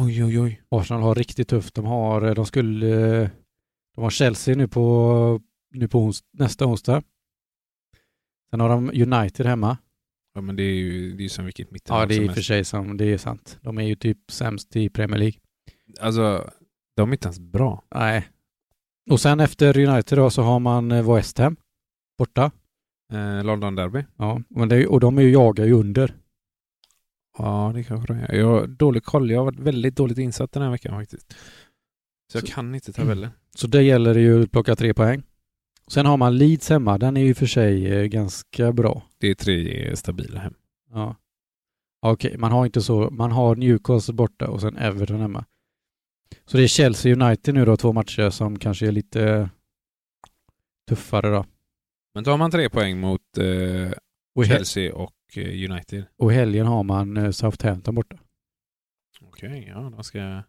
[SPEAKER 3] Oj, oj, oj.
[SPEAKER 2] Arsenal har riktigt tufft. De har, de skulle, eh, de har Chelsea nu på, nu på ons, nästa onsdag. Sen har de United hemma.
[SPEAKER 3] Ja, men det är ju det är ju som vilket mittenlag
[SPEAKER 2] Ja, det är i
[SPEAKER 3] som
[SPEAKER 2] och för
[SPEAKER 3] helst.
[SPEAKER 2] sig som, det är sant. De är ju typ sämst i Premier League.
[SPEAKER 3] Alltså, de är inte ens bra.
[SPEAKER 2] Nej. Och sen efter United då så har man eh, West Ham borta.
[SPEAKER 3] Eh, London Derby.
[SPEAKER 2] Ja, men det, är ju- och de är ju jagar ju under.
[SPEAKER 3] Ja, det kanske de är. Jag har dålig koll. Jag har varit väldigt dåligt insatt den här veckan faktiskt. Så jag
[SPEAKER 2] Så-
[SPEAKER 3] kan inte tabellen.
[SPEAKER 2] Så det gäller det ju att plocka tre poäng. Sen har man Leeds hemma. Den är ju i och för sig eh, ganska bra.
[SPEAKER 3] Det är tre stabila hem.
[SPEAKER 2] Ja. Okej, man har inte så. Man har Newcastle borta och sen Everton hemma. Så det är Chelsea United nu då, två matcher som kanske är lite tuffare då.
[SPEAKER 3] Men tar man tre poäng mot eh,
[SPEAKER 2] Och, i hel-
[SPEAKER 3] Chelsea och eh, United.
[SPEAKER 2] och i helgen har man eh, Southampton borta.
[SPEAKER 3] Okej, ja, de ska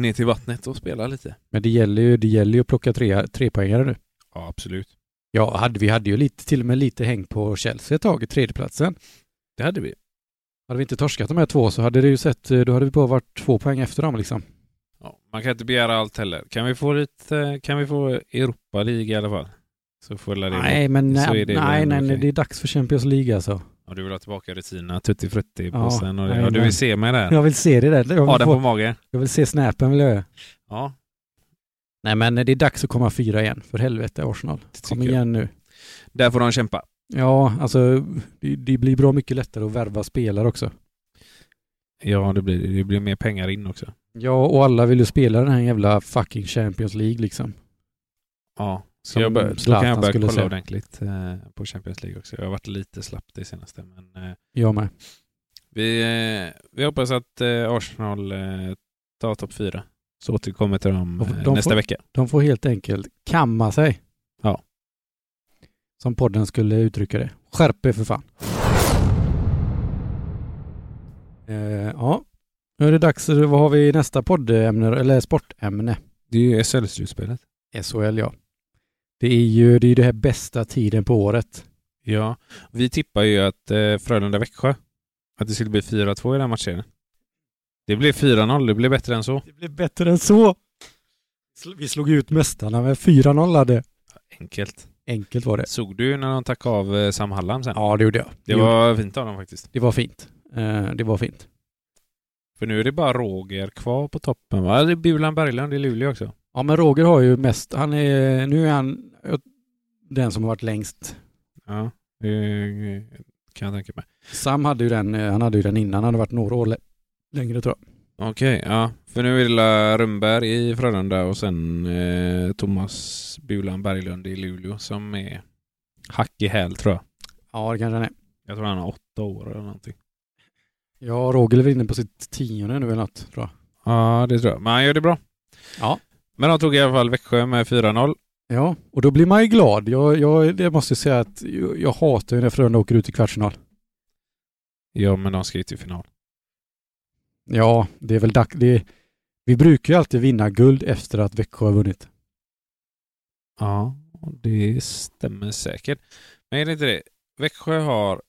[SPEAKER 3] ner till vattnet och spela lite.
[SPEAKER 2] Men det gäller ju, det gäller ju att plocka tre, tre poängare nu.
[SPEAKER 3] Ja, absolut.
[SPEAKER 2] Ja, hade, vi hade ju lite, till och med lite häng på Chelsea ett tag i tredjeplatsen.
[SPEAKER 3] Det hade vi.
[SPEAKER 2] Hade vi inte torskat de här två så hade det ju sett, eh, då hade vi bara varit två poäng efter dem liksom.
[SPEAKER 3] Ja, man kan inte begära allt heller. Kan vi få lite, kan vi få Europa League i alla fall? Så får väl det
[SPEAKER 2] Nej, men
[SPEAKER 3] så
[SPEAKER 2] nej,
[SPEAKER 3] är det väl
[SPEAKER 2] nej,
[SPEAKER 3] ändå
[SPEAKER 2] nej, nej,
[SPEAKER 3] okej.
[SPEAKER 2] det är dags för Champions League alltså.
[SPEAKER 3] Om du vill ha tillbaka rutinerna, tutti frutti
[SPEAKER 2] Ja,
[SPEAKER 3] påsen och det. Ja,
[SPEAKER 2] jajamän.
[SPEAKER 3] du vill se mig där.
[SPEAKER 2] Jag vill se det där. Jag
[SPEAKER 3] Ha
[SPEAKER 2] vill,
[SPEAKER 3] den på
[SPEAKER 2] få,
[SPEAKER 3] magen.
[SPEAKER 2] jag vill se snappen vill jag göra.
[SPEAKER 3] Ja,
[SPEAKER 2] Nej, men det är dags att komma fyra igen. För helvete, Arsenal.
[SPEAKER 3] det
[SPEAKER 2] Kom
[SPEAKER 3] tycker jag.
[SPEAKER 2] igen nu.
[SPEAKER 3] Där får de kämpa.
[SPEAKER 2] Ja, alltså det, det blir bra mycket lättare att värva spelare också.
[SPEAKER 3] Ja, det blir, det blir mer pengar in också.
[SPEAKER 2] Ja, och alla vill ju spela den här jävla fucking Champions League liksom.
[SPEAKER 3] Ja, så
[SPEAKER 2] Som
[SPEAKER 3] jag bör, då kan
[SPEAKER 2] Zlatan
[SPEAKER 3] jag börja
[SPEAKER 2] skulle
[SPEAKER 3] kolla
[SPEAKER 2] säga.
[SPEAKER 3] ordentligt eh, på Champions League också. Jag har varit lite slapp det senaste, men eh,
[SPEAKER 2] Jag med.
[SPEAKER 3] vi, eh, vi hoppas att eh, Arsenal eh, tar topp fyra. Så återkommer till dem
[SPEAKER 2] De får-
[SPEAKER 3] eh,
[SPEAKER 2] de
[SPEAKER 3] nästa
[SPEAKER 2] får-
[SPEAKER 3] vecka.
[SPEAKER 2] De får helt enkelt kamma sig.
[SPEAKER 3] Ja.
[SPEAKER 2] Som podden skulle uttrycka det. Skärp er för fan. Eh, ja, nu är det dags. Vad har vi i nästa poddämne, eller sportämne?
[SPEAKER 3] Det är ju SL-slutspelet.
[SPEAKER 2] SHL ja. Det är ju det, är ju det här bästa tiden på året.
[SPEAKER 3] Ja, vi tippar ju att eh, Frölunda-Växjö, att det skulle bli 4-2 i den matchen. Det blev 4-0, det blev bättre än så.
[SPEAKER 2] Det blev bättre än så. Vi slog ut mästarna med 4-0 hade.
[SPEAKER 3] Enkelt.
[SPEAKER 2] Enkelt var det.
[SPEAKER 3] Såg du när de tackade av eh, Sam Hallam sen?
[SPEAKER 2] Ja, det gjorde jag.
[SPEAKER 3] Det var fint av dem faktiskt.
[SPEAKER 2] det var fint. Eh, det var fint.
[SPEAKER 3] För nu är det bara Roger kvar på toppen va? Eller Bulan Berglund i Luleå också.
[SPEAKER 2] Ja, men Roger har ju mest. Han är, nu är han eh, den som har varit längst.
[SPEAKER 3] Ja, det kan jag tänka mig.
[SPEAKER 2] Sam hade ju den, eh, han hade ju den innan. Han hade varit några år lä- längre tror jag.
[SPEAKER 3] Okej, ja. För nu är det La Rönnberg i Frölunda och sen eh, Thomas Bulan Berglund i Luleå som är hack i häl tror jag.
[SPEAKER 2] Ja, det kanske han är.
[SPEAKER 3] Jag tror han har åtta år eller någonting.
[SPEAKER 2] Ja, Roger är väl inne på sitt tionde nu eller något tror jag.
[SPEAKER 3] Ja, det tror jag. Men han gör det bra.
[SPEAKER 2] Ja.
[SPEAKER 3] Men de tog i alla fall Växjö med 4-0.
[SPEAKER 2] Ja, och då blir man ju glad. Jag, jag, jag måste säga att jag, jag hatar ju när Frölunda åker ut i kvartsfinal.
[SPEAKER 3] Ja, men de ska ju till final.
[SPEAKER 2] Ja, det är väl dags. Det, vi brukar ju alltid vinna guld efter att Växjö har vunnit.
[SPEAKER 3] Ja, det stämmer säkert. Men är det inte det? Växjö har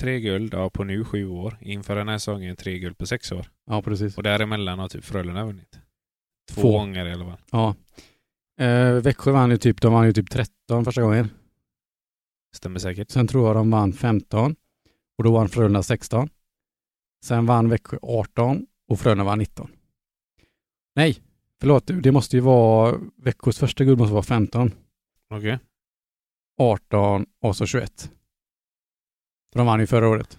[SPEAKER 3] tre guld ja, på nu sju år. Inför den här säsongen tre guld på sex år.
[SPEAKER 2] Ja, precis.
[SPEAKER 3] Och däremellan har typ Frölunda vunnit. Två
[SPEAKER 2] Två.
[SPEAKER 3] gånger i alla fall.
[SPEAKER 2] Ja. Eh, Växjö vann ju typ, de vann ju typ 13 första gången.
[SPEAKER 3] Stämmer säkert.
[SPEAKER 2] Sen tror jag de vann 15 och då vann Frölunda 16. Sen vann Växjö 18 och Frölunda vann 19. Nej, förlåt, det måste ju vara Växjös första guld måste vara 15,
[SPEAKER 3] Okej.
[SPEAKER 2] 18 och så 21. För de vann ju förra året.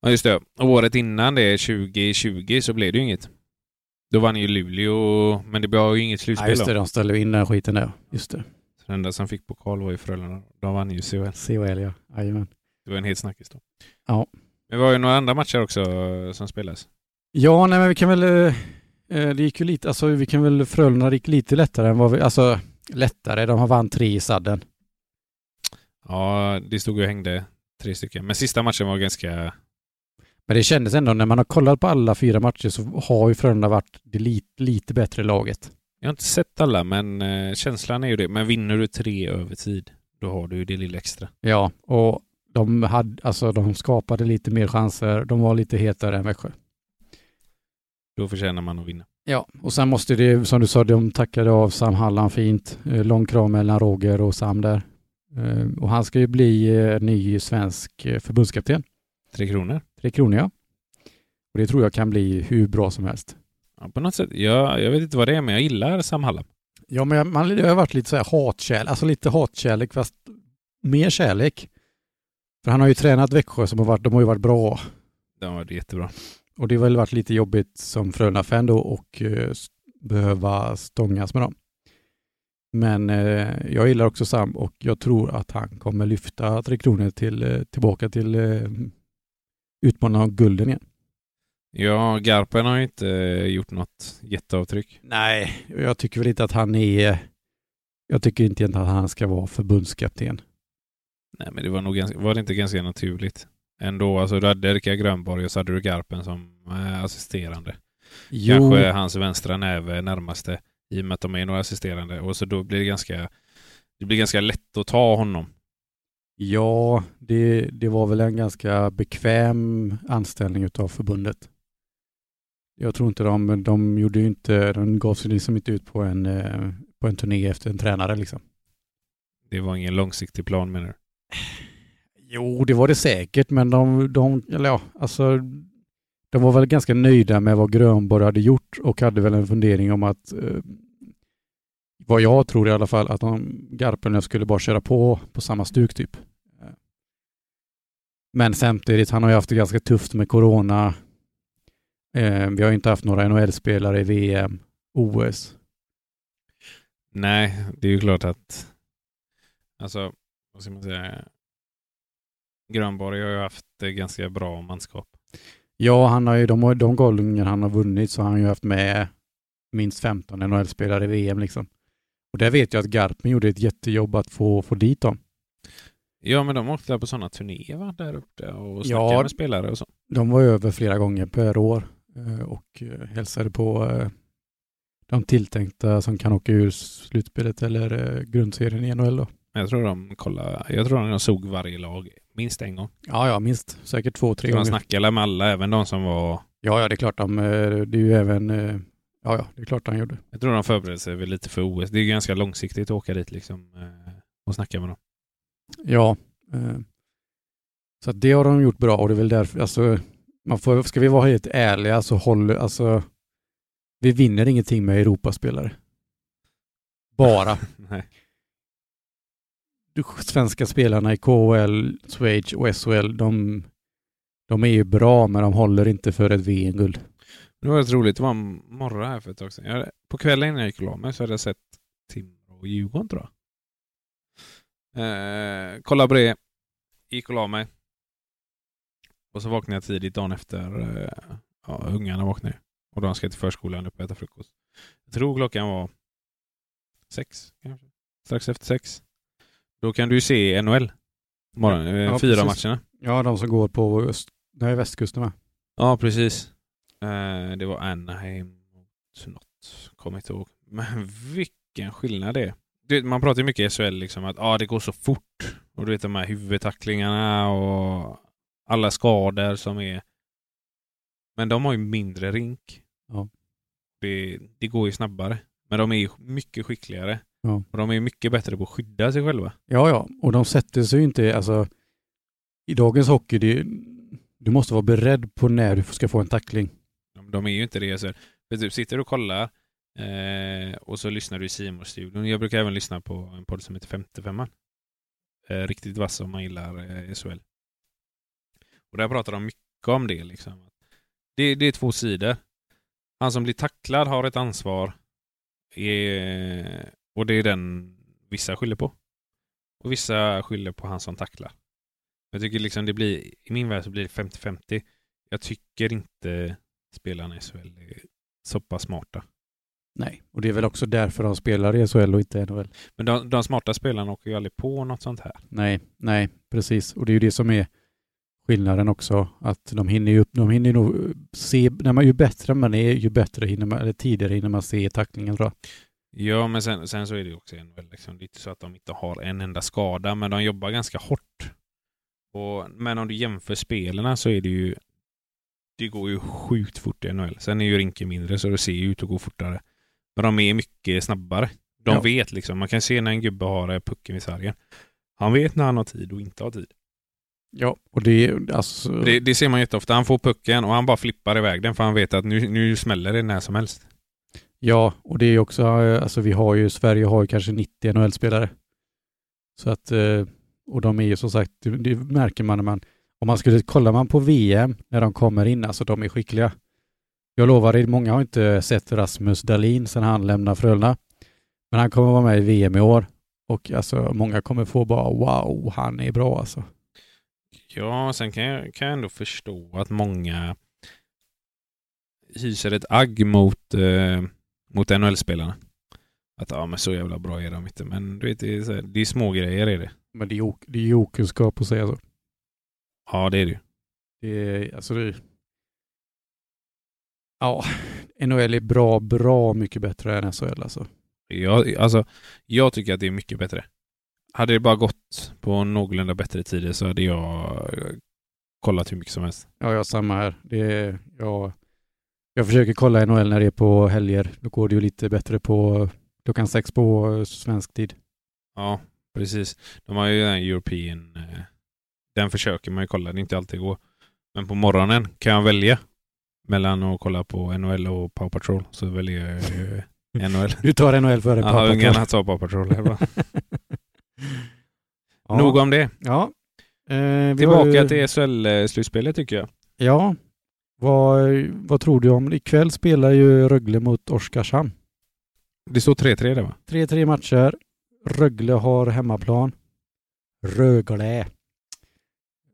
[SPEAKER 3] Ja, just det. Och året innan det, 2020, så blev det ju inget. Då vann ju Luleå, men det blev ju inget slutspel.
[SPEAKER 2] Ja, just det,
[SPEAKER 3] då.
[SPEAKER 2] de ställde ju in den skiten där. Just det.
[SPEAKER 3] Så Den enda som fick pokal var ju Frölunda. De vann ju CHL.
[SPEAKER 2] CHL ja. Jajamän.
[SPEAKER 3] Det var en het snackis då.
[SPEAKER 2] Ja.
[SPEAKER 3] Men det var ju några andra matcher också eh, som spelades.
[SPEAKER 2] Ja, nej men vi kan väl, eh, eh, det gick ju lite, alltså vi kan väl, Frölunda gick lite lättare än vad vi, alltså lättare, de har vann tre i sadden.
[SPEAKER 3] Ja, det stod och hängde tre stycken. Men sista matchen var ganska...
[SPEAKER 2] Men det kändes ändå, när man har kollat på alla fyra matcher så har ju Frölunda varit det lite, lite bättre laget.
[SPEAKER 3] Jag har inte sett alla, men eh, känslan är ju det. Men vinner du tre över tid, då har du ju det lilla extra.
[SPEAKER 2] Ja, och de hade, alltså de skapade lite mer chanser, de var lite hetare än Växjö.
[SPEAKER 3] Då förtjänar man att vinna.
[SPEAKER 2] Ja, och sen måste det, som du sa, de tackade av Sam Hallan fint. Eh, Lång kram mellan Roger och Sam där. Eh, Och han ska ju bli eh, ny svensk eh, förbundskapten.
[SPEAKER 3] Tre kronor.
[SPEAKER 2] Tre kronor ja. Och det tror jag kan bli hur bra som helst.
[SPEAKER 3] Ja, på något sätt. Jag, jag vet inte vad det är, men jag gillar Sam Hallam.
[SPEAKER 2] Ja, men jag, man, det har varit lite så här hatkärlek, alltså lite hatkärlek fast mer kärlek. För han har ju tränat Växjö som har varit, de har ju varit bra.
[SPEAKER 3] Den var jättebra.
[SPEAKER 2] Och det har väl varit lite jobbigt som Frölunda-fan då och eh, s- behöva stångas med dem. Men eh, jag gillar också Sam och jag tror att han kommer lyfta Tre Kronor till, eh, tillbaka till eh, utmanarna om gulden igen.
[SPEAKER 3] Ja, Garpen har ju inte eh, gjort något jätteavtryck.
[SPEAKER 2] Nej, jag tycker väl inte att han är... Jag tycker inte att han ska vara förbundskapten.
[SPEAKER 3] Nej, men det var nog ganska, var det inte ganska naturligt ändå. Alltså, du hade Erika Grönborg och så hade du Garpen som eh, assisterande.
[SPEAKER 2] Jo,
[SPEAKER 3] Kanske hans vänstra näve närmaste i och med att de är några assisterande. Och så då blir det ganska, det blir ganska lätt att ta honom.
[SPEAKER 2] ja, det, det var väl en ganska bekväm anställning utav förbundet. Jag tror inte de, de gjorde ju inte, de gav sig liksom inte ut på en, eh, på en turné efter en tränare liksom.
[SPEAKER 3] Det var ingen långsiktig plan menar du?
[SPEAKER 2] Jo, det var det säkert, men de, de, eller ja, alltså, de var väl ganska nöjda med vad Grönborg hade gjort och hade väl en fundering om att, eh, vad jag tror i alla fall, att de, Garpenlöv skulle bara köra på på samma stuk typ. Eh. Men samtidigt, han har ju haft det ganska tufft med corona. Eh, vi har ju inte haft några NHL-spelare i VM, OS.
[SPEAKER 3] Nej, det är ju klart att... Alltså, vad ska man säga? Grönborg har ju haft eh, ganska bra manskap.
[SPEAKER 2] Ja, han har ju, de, har- de galningar han har vunnit så har han ju haft med minst 15 NHL-spelare i VM liksom. Och där vet jag att Garpen gjorde ett jättejobb att få, få dit dem.
[SPEAKER 3] Ja, men de åkte på sådana turnéer va? där uppe och snackade
[SPEAKER 2] Ja.
[SPEAKER 3] med spelare och så.
[SPEAKER 2] De var över flera gånger per år eh, och eh, hälsade på eh, de tilltänkta som kan åka ur slutspelet eller eh, grundserien i NHL då.
[SPEAKER 3] Men Jag tror de kollade, jag tror de såg varje lag minst en gång.
[SPEAKER 2] Ja, ja, minst. Säkert två, tre
[SPEAKER 3] De
[SPEAKER 2] gånger.
[SPEAKER 3] snackade med alla, även de som var...
[SPEAKER 2] Ja, ja, det är klart de, eh, det är ju även, eh, ja, ja, det är klart han gjorde.
[SPEAKER 3] Jag tror de förberedde sig väl lite för OS. Det är ju ganska långsiktigt att åka dit liksom eh, och snacka med dem.
[SPEAKER 2] Ja. eh, Så att det har de gjort bra och det är väl därför, alltså, man får, ska vi vara helt ärliga så håller, alltså, vi vinner ingenting med Europaspelare. Bara.
[SPEAKER 3] Nej.
[SPEAKER 2] De svenska spelarna i KHL, Schweiz och SHL, de, de är ju bra men de håller inte för ett VM-guld.
[SPEAKER 3] Det var rätt roligt. Det var en morgon här för ett tag sedan. Jag, på kvällen innan jag gick och la mig så hade jag sett Timrå och Djurgården tror jag. Eh, kolla på det. Gick och la mig. Och så vaknade jag tidigt dagen efter. Eh, ja, ungarna vaknade ju. Och de ska till förskolan upp och äta frukost. Jag tror klockan var sex kanske. Strax efter sex. Då kan du ju se NHL. Morgon, eh,
[SPEAKER 2] Ja,
[SPEAKER 3] fyra
[SPEAKER 2] precis.
[SPEAKER 3] matcherna.
[SPEAKER 2] Ja, de som går på öst, nej, västkusten va?
[SPEAKER 3] Ja, precis. Eh, det var Anaheim mot något. Kommer inte ihåg. Men vilken skillnad det är. Du vet, man pratar ju mycket i SHL liksom att ah, det går så fort. Och du vet de här huvudtacklingarna och alla skador som är. Men de har ju mindre rink.
[SPEAKER 2] Ja.
[SPEAKER 3] Det, det går ju snabbare. Men de är ju mycket skickligare.
[SPEAKER 2] Ja.
[SPEAKER 3] Och de är ju mycket bättre på att skydda sig själva.
[SPEAKER 2] Ja, ja, och de sätter sig ju inte, alltså i dagens hockey, det, du måste vara beredd på när du ska få en tackling.
[SPEAKER 3] De, de är ju inte det. Så, för typ, sitter och kollar eh, och så lyssnar du i simor studion Jag brukar även lyssna på en podd som heter 55 eh, Riktigt vass om man gillar eh, SHL. Och där pratar de mycket om det. Liksom. Det, det är två sidor. Han som blir tacklad har ett ansvar eh, och det är den vissa skyller på. Och vissa skyller på han som tacklar. Jag tycker liksom det blir, i min värld så blir det 50-50. Jag tycker inte spelarna i SHL är så pass smarta.
[SPEAKER 2] Nej, och det är väl också därför de spelar i SHL och inte NHL.
[SPEAKER 3] Men de, de smarta spelarna åker ju aldrig på något sånt här.
[SPEAKER 2] Nej, nej, precis. Och det är ju det som är skillnaden också, att de hinner ju, upp, de hinner ju nog eh, se, när man, ju bättre man är, ju bättre hinner man, eller tidigare hinner man se tacklingen tror jag.
[SPEAKER 3] Ja, men sen, sen så är det ju också en, väl liksom, det är inte så att de inte har en enda skada, men de jobbar ganska hårt. Och, men om du jämför spelarna så är det ju det går ju sjukt fort i NHL. Sen är ju rinken mindre så det ser ju ut att gå fortare. Men de är mycket snabbare. De
[SPEAKER 2] Ja.
[SPEAKER 3] vet liksom. Man kan se när en gubbe har eh, pucken vid sargen. Han vet när han har tid och inte har tid.
[SPEAKER 2] Ja, och det alltså...
[SPEAKER 3] Det, det ser man jätteofta. Han får pucken och han bara flippar iväg den för han vet att nu, nu smäller det när som helst.
[SPEAKER 2] Ja, och det är ju också, eh, alltså vi har ju, Sverige har ju kanske 90 NHL-spelare. Så att, eh, och de är ju som sagt, det, det märker man när man, om man skulle, kollar man på VM när de kommer in, alltså de är skickliga. Jag lovar er, många har inte sett Rasmus Dahlin sedan han lämnade Frölunda. Men han kommer vara med i VM i år och alltså många kommer få bara wow, han är bra alltså.
[SPEAKER 3] Ja, sen kan jag, kan jag ändå förstå att många hyser ett agg mot, eh, mot NHL-spelarna. Att ja, men så jävla bra är de inte. Men du vet, det är, så här, det är små grejer är det.
[SPEAKER 2] Men det är ok- det är ju okunskap att säga så.
[SPEAKER 3] Ja, det är det ju.
[SPEAKER 2] Det är, alltså det... Ja, NHL är bra, bra mycket bättre än SHL alltså.
[SPEAKER 3] Jag, alltså, jag tycker att det är mycket bättre. Hade det bara gått på någorlunda bättre tider så hade jag kollat hur mycket som helst.
[SPEAKER 2] Ja, jag har samma här. Det är, jag, jag försöker kolla NHL när det är på helger. Då går det ju lite bättre på klockan sex på eh, svensk tid.
[SPEAKER 3] Ja, precis. De har ju den här European... eh, Den försöker man ju kolla, det är inte alltid det går. Men på morgonen kan jag välja mellan att kolla på NHL och Power Patrol. Så väljer jag eh, ju NHL.
[SPEAKER 2] Du tar NHL före
[SPEAKER 3] Ja,
[SPEAKER 2] pappa.
[SPEAKER 3] ungarna tar Power Patrol. Här, va?
[SPEAKER 2] ja.
[SPEAKER 3] Nog om det.
[SPEAKER 2] Ja. Eh, vi har
[SPEAKER 3] Tillbaka
[SPEAKER 2] ju-
[SPEAKER 3] till SHL-slutspelet tycker jag.
[SPEAKER 2] Ja. Vad, vad tror du om... Ikväll spelar ju Rögle mot Oskarshamn.
[SPEAKER 3] Det står 3-3 där va?
[SPEAKER 2] 3-3 matcher. Rögle har hemmaplan. Rögle.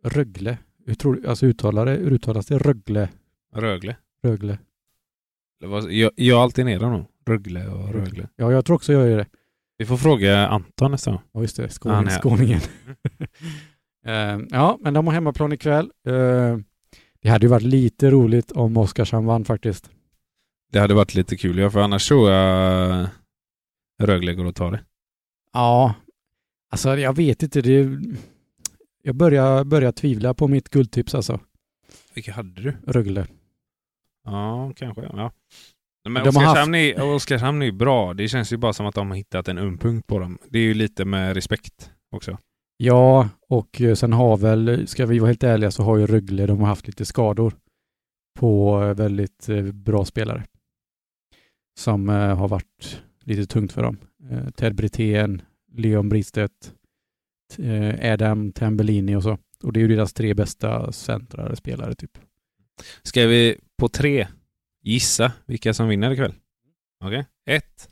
[SPEAKER 2] Rögle. Hur tror du, alltså uttalar det, hur uttalas det? Rögle.
[SPEAKER 3] Rögle.
[SPEAKER 2] Rögle.
[SPEAKER 3] Eller vad- Jag, jag alternerar nog. Rögle och Rögle.
[SPEAKER 2] Ja, jag tror också jag gör det.
[SPEAKER 3] Vi får fråga Anton nästa gång.
[SPEAKER 2] Ja, just det.
[SPEAKER 3] Han
[SPEAKER 2] Skåning,
[SPEAKER 3] är-
[SPEAKER 2] skåningen. Eh, ja, men de har hemmaplan ikväll. Uh, det hade ju varit lite roligt om Oskarshamn vann faktiskt.
[SPEAKER 3] Det hade varit lite kul, ja, för annars tror jag Rögle går att ta det.
[SPEAKER 2] Ja, alltså jag vet inte. Det, jag börjar, börjar tvivla på mitt guldtips alltså.
[SPEAKER 3] Vilka hade du?
[SPEAKER 2] Rögle.
[SPEAKER 3] Ja, kanske. Ja. Nej, Men
[SPEAKER 2] De har
[SPEAKER 3] Oskarshamn, är, Oskarshamn är ju bra. Det känns ju bara som att de har hittat en ömpunkt på dem. Det är ju lite med respekt också.
[SPEAKER 2] Ja, och eh, sen har väl, ska vi vara helt ärliga, så har ju Rögle, de har haft lite skador på eh, väldigt eh, bra spelare. Som eh, har varit lite tungt för dem. Eh, Ted Brithén, Leon Bristedt, t- eh, Adam Tambellini och så. Och det är ju deras tre bästa centrare spelare typ.
[SPEAKER 3] Ska vi på tre gissa vilka som vinner ikväll? Okej. Ett,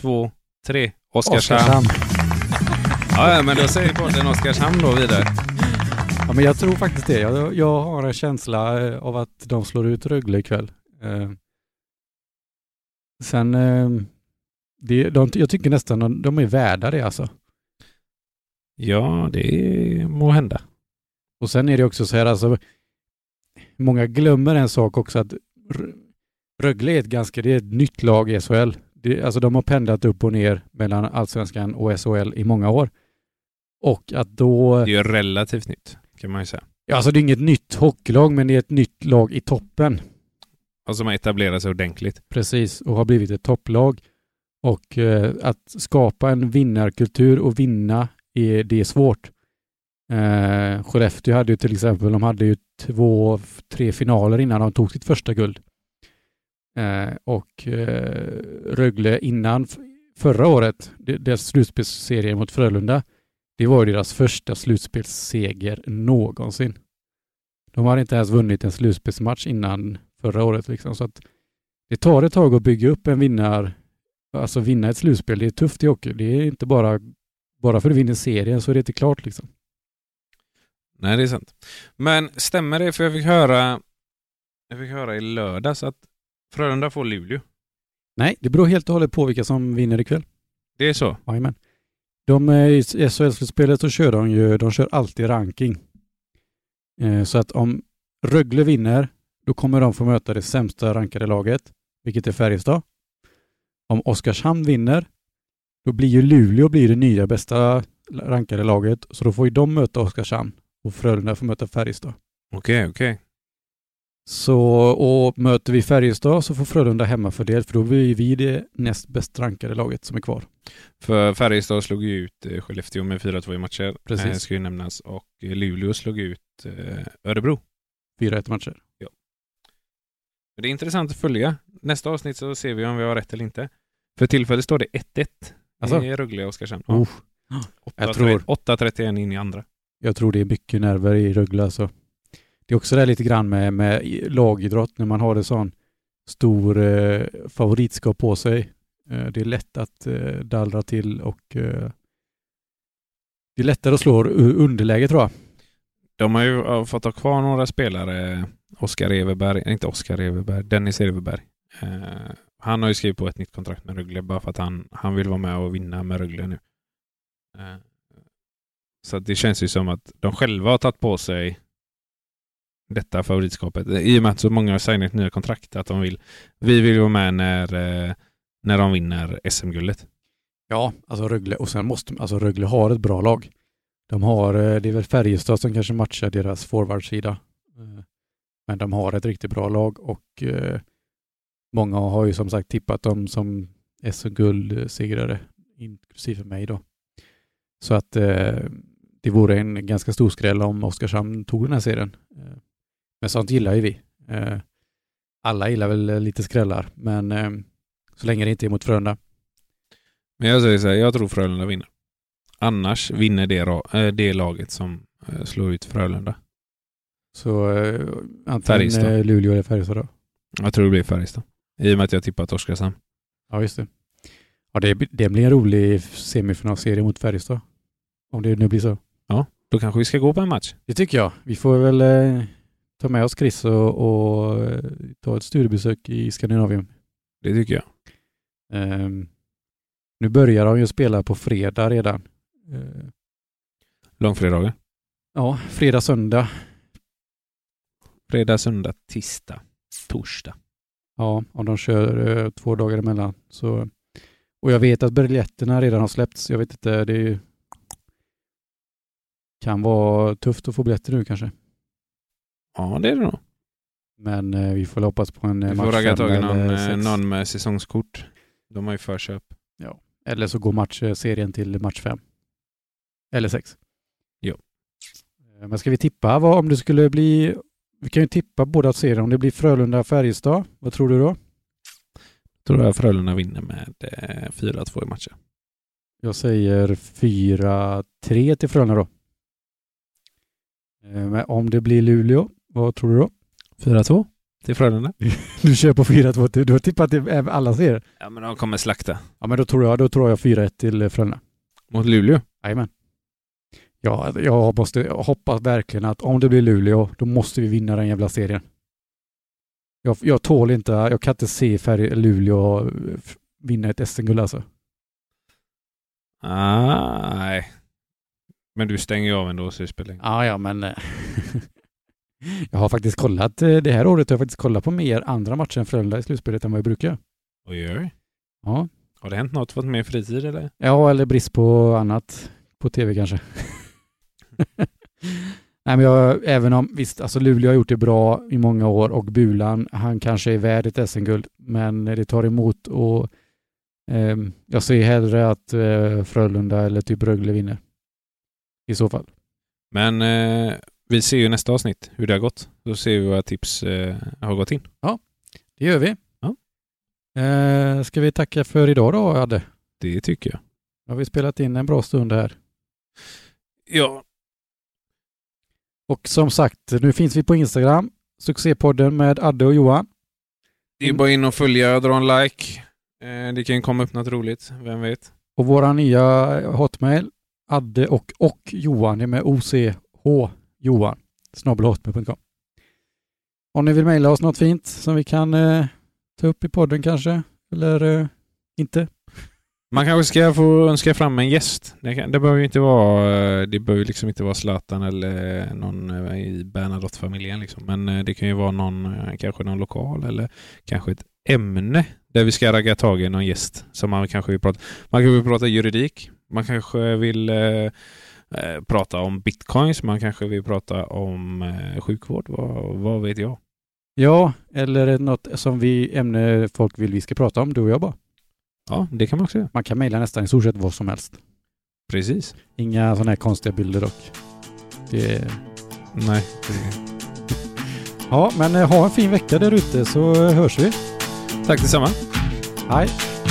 [SPEAKER 3] två, tre. Oskarshamn. Ja, ja, men då säger podden Oskarshamn då vidare.
[SPEAKER 2] Ja, men jag tror faktiskt det. Jag, jag har en känsla eh, av att de slår ut Rögle ikväll. Eh, sen, eh, det, de, jag tycker nästan de, de är värda det alltså.
[SPEAKER 3] Ja, det må hända.
[SPEAKER 2] Och sen är det också så här, alltså, många glömmer en sak också att R- Rögle är ett ganska, det är ett nytt lag i SHL. Det, alltså de har pendlat upp och ner mellan allsvenskan och SHL i många år. Och att då...
[SPEAKER 3] Det är ju relativt nytt, kan man ju säga.
[SPEAKER 2] Ja, alltså det är inget nytt hockeylag, men det är ett nytt lag i toppen.
[SPEAKER 3] Och som har etablerat sig ordentligt.
[SPEAKER 2] Precis, och har blivit ett topplag. Och eh, att skapa en vinnarkultur och vinna, är, det är svårt. Eh, Skellefteå hade ju till exempel, de hade ju två, tre finaler innan de tog sitt första guld. Eh, och eh, Rögle innan f- förra året, de- deras slutspelsserie mot Frölunda, det var ju deras första slutspelsseger någonsin. De hade inte ens vunnit en slutspelsmatch innan förra året liksom, så att det tar ett tag att bygga upp en vinnar, alltså vinna ett slutspel. Det är tufft i hockey. Det är inte bara, bara för att du vinner serien så är det inte klart liksom.
[SPEAKER 3] Nej, det är sant. Men stämmer det? För jag fick höra, jag fick höra i lördags att Frölunda får Luleå.
[SPEAKER 2] Nej, det beror helt och hållet på vilka som vinner ikväll.
[SPEAKER 3] Det är så?
[SPEAKER 2] Jajamän. De eh, i SHL-slutspelet så kör de ju, de kör alltid ranking. Eh, Så att om Rögle vinner, då kommer de få möta det sämsta rankade laget, vilket är Färjestad. Om Oskarshamn vinner, då blir ju Luleå blir det nya bästa rankade laget, så då får ju de möta Oskarshamn och Frölunda får möta Färjestad.
[SPEAKER 3] Okej, okej.
[SPEAKER 2] Så, och möter vi Färjestad så får Frölunda hemmafördel för då blir vi det näst bäst rankade laget som är kvar.
[SPEAKER 3] För Färjestad slog ju ut eh, Skellefteå med 4-2 i matcher.
[SPEAKER 2] Precis.
[SPEAKER 3] Eh, ska ju nämnas. Och eh, Luleå slog ut eh, Örebro.
[SPEAKER 2] 4-1 matcher.
[SPEAKER 3] Det är intressant att följa. Nästa avsnitt så ser vi om vi har rätt eller inte. För tillfället står det 1-1
[SPEAKER 2] Alltså?
[SPEAKER 3] i Rögle och Oskarshamn.
[SPEAKER 2] Oh, jag tror-
[SPEAKER 3] 8-31 in i andra.
[SPEAKER 2] Jag tror det är mycket nerver i Rögle alltså. Det är också det här lite grann med, med i- lagidrott när man har en sån stor eh, favoritskap på sig. Eh, det är lätt att eh, dallra till och eh, det är lättare att slå ur underläge tror jag.
[SPEAKER 3] De har ju eh, fått ha kvar några spelare. Oskar Everberg, eh, inte Oskar Everberg, Dennis Everberg. Eh, han har ju skrivit på ett nytt kontrakt med Rögle bara för att han, han vill vara med och vinna med Rögle nu. Eh, så att det känns ju som att de själva har tagit på sig detta favoritskapet. I och med att så många har signat nya kontrakt. Att de vill, vi vill vara med när, eh, när de vinner SM-guldet.
[SPEAKER 2] Ja, alltså Rögle, och sen måste, alltså Rögle har ett bra lag. De har, eh, det är väl Färjestad som kanske matchar deras forwardsida. Eh, Men de har ett riktigt bra lag och eh, många har ju som sagt tippat dem som SM-guldsegrare, inklusive mig då. Så att eh, det vore en ganska stor skräll om Oskarshamn tog den här serien. Eh, Men sånt gillar ju vi. Eh, Alla gillar väl eh, lite skrällar, men eh, så länge det inte är mot Frölunda.
[SPEAKER 3] Men jag säger så här, jag tror Frölunda vinner. Annars vinner det, ra- eh, det laget som eh, slår ut Frölunda.
[SPEAKER 2] Så eh, antingen
[SPEAKER 3] Färjestad.
[SPEAKER 2] eh, Luleå eller Färjestad då?
[SPEAKER 3] Jag tror det blir Färjestad. I och med att jag tippat Oskarshamn.
[SPEAKER 2] Ja, just det. Ja, det, det blir en rolig semifinalserie mot Färjestad. Om det nu blir så.
[SPEAKER 3] Då kanske vi ska gå på en match.
[SPEAKER 2] Det tycker jag. Vi får väl eh, ta med oss Chris och, och eh, ta ett studiebesök i Skandinavien.
[SPEAKER 3] Det tycker jag.
[SPEAKER 2] Ehm, nu börjar de ju spela på fredag redan. Eh,
[SPEAKER 3] Långfredagen.
[SPEAKER 2] ja, fredag, söndag.
[SPEAKER 3] Fredag, söndag, tisdag, torsdag.
[SPEAKER 2] Ja, om de kör eh, två dagar emellan. Så, och jag vet att biljetterna redan har släppts. Jag vet inte, det är ju, kan vara tufft att få biljetter nu kanske.
[SPEAKER 3] Ja, det är det nog.
[SPEAKER 2] Men eh, vi får väl hoppas på en eh,
[SPEAKER 3] Vi
[SPEAKER 2] match
[SPEAKER 3] får
[SPEAKER 2] fem
[SPEAKER 3] ragga tag i någon,
[SPEAKER 2] eller,
[SPEAKER 3] eh,
[SPEAKER 2] sex.
[SPEAKER 3] någon med säsongskort. De har ju förköp.
[SPEAKER 2] eller så går matchserien till match fem. Eller sex.
[SPEAKER 3] Jo.
[SPEAKER 2] Eh, Men ska vi tippa vad om det skulle bli... Vi kan ju tippa båda serierna. Om det blir Frölunda-Färjestad, vad tror du då?
[SPEAKER 3] Tror jag Frölunda vinner med eh, 4-2 i matchen.
[SPEAKER 2] Jag säger 4-3 till Frölunda då. Eh, Men om det blir Luleå, vad tror du då?
[SPEAKER 3] 4-2 till Frölunda?
[SPEAKER 2] Du kör på 4-2. till- Du har tippat till eh, alla serier.
[SPEAKER 3] Ja, men de kommer slakta.
[SPEAKER 2] Ja, men då tror jag, då tror jag 4-1 till eh, Frölunda.
[SPEAKER 3] Mot Luleå?
[SPEAKER 2] Jajamän. Ja, alltså, jag, måste, jag hoppas verkligen att om det blir Luleå, då måste vi vinna den jävla serien. Jag, jag tål inte, jag kan inte se Färje, Luleå eh, f- vinna ett SM-guld alltså.
[SPEAKER 3] Ah, nej. Men du stänger ju av ändå slutspelningen.
[SPEAKER 2] Ja, ja, men... eh, jag har faktiskt kollat, eh, det här året har jag faktiskt kollat på mer andra matcher än Frölunda i slutspelet än vad jag brukar.
[SPEAKER 3] Oj, oj.
[SPEAKER 2] Ja,
[SPEAKER 3] Har det hänt något? Fått mer fritid eller?
[SPEAKER 2] ja eller brist på annat. På tv kanske. Nej, men jag, även om, visst, alltså Luleå har gjort det bra i många år och Bulan, han kanske är värd ett SM-guld, men det tar emot och ehm, jag ser hellre att eh, Frölunda eller typ Rögle vinner. I så fall.
[SPEAKER 3] Men eh, vi ser ju nästa avsnitt hur det har gått. Då ser vi vad tips eh, har gått in.
[SPEAKER 2] Det gör vi.
[SPEAKER 3] Ja.
[SPEAKER 2] Eh, ska vi tacka för idag då, Adde?
[SPEAKER 3] Det tycker jag.
[SPEAKER 2] Nu har vi spelat in en bra stund här.
[SPEAKER 3] Ja,
[SPEAKER 2] Och som sagt, nu finns vi på Instagram, Succépodden med Adde och Johan.
[SPEAKER 3] det är bara in och följa, dra en like. Eh, det kan komma upp något roligt, vem vet?
[SPEAKER 2] Och våra nya eh, hotmail, Adde och, och Johan, det är med OCH Johan, snabbelhotmail.com. Om ni vill mejla oss något fint som vi kan eh, ta upp i podden kanske, eller eh, inte.
[SPEAKER 3] Man kanske ska få önska fram en gäst. Det, kan, det behöver ju inte vara, eh, det behöver ju liksom inte vara Zlatan eller någon eh, i Bernadotte-familjen liksom. Men eh, det kan ju vara någon, eh, kanske någon lokal eller kanske ett ämne där vi ska ragga tag i någon gäst som man kanske vill prata. Man kanske vill prata juridik. Man kanske vill eh, eh, prata om bitcoins. Man kanske vill prata om eh, sjukvård. Vad, vad vet jag?
[SPEAKER 2] Ja, eller något som vi, ämne folk vill vi ska prata om, du och jag bara.
[SPEAKER 3] Ja, det kan man också göra.
[SPEAKER 2] Man kan mejla nästan i stort sett vad som helst.
[SPEAKER 3] Precis.
[SPEAKER 2] Inga sådana här konstiga bilder dock. Det är...
[SPEAKER 3] Nej.
[SPEAKER 2] Ja, men eh, ha en fin vecka där ute så eh, hörs vi.
[SPEAKER 3] Tack detsamma.
[SPEAKER 2] Hej!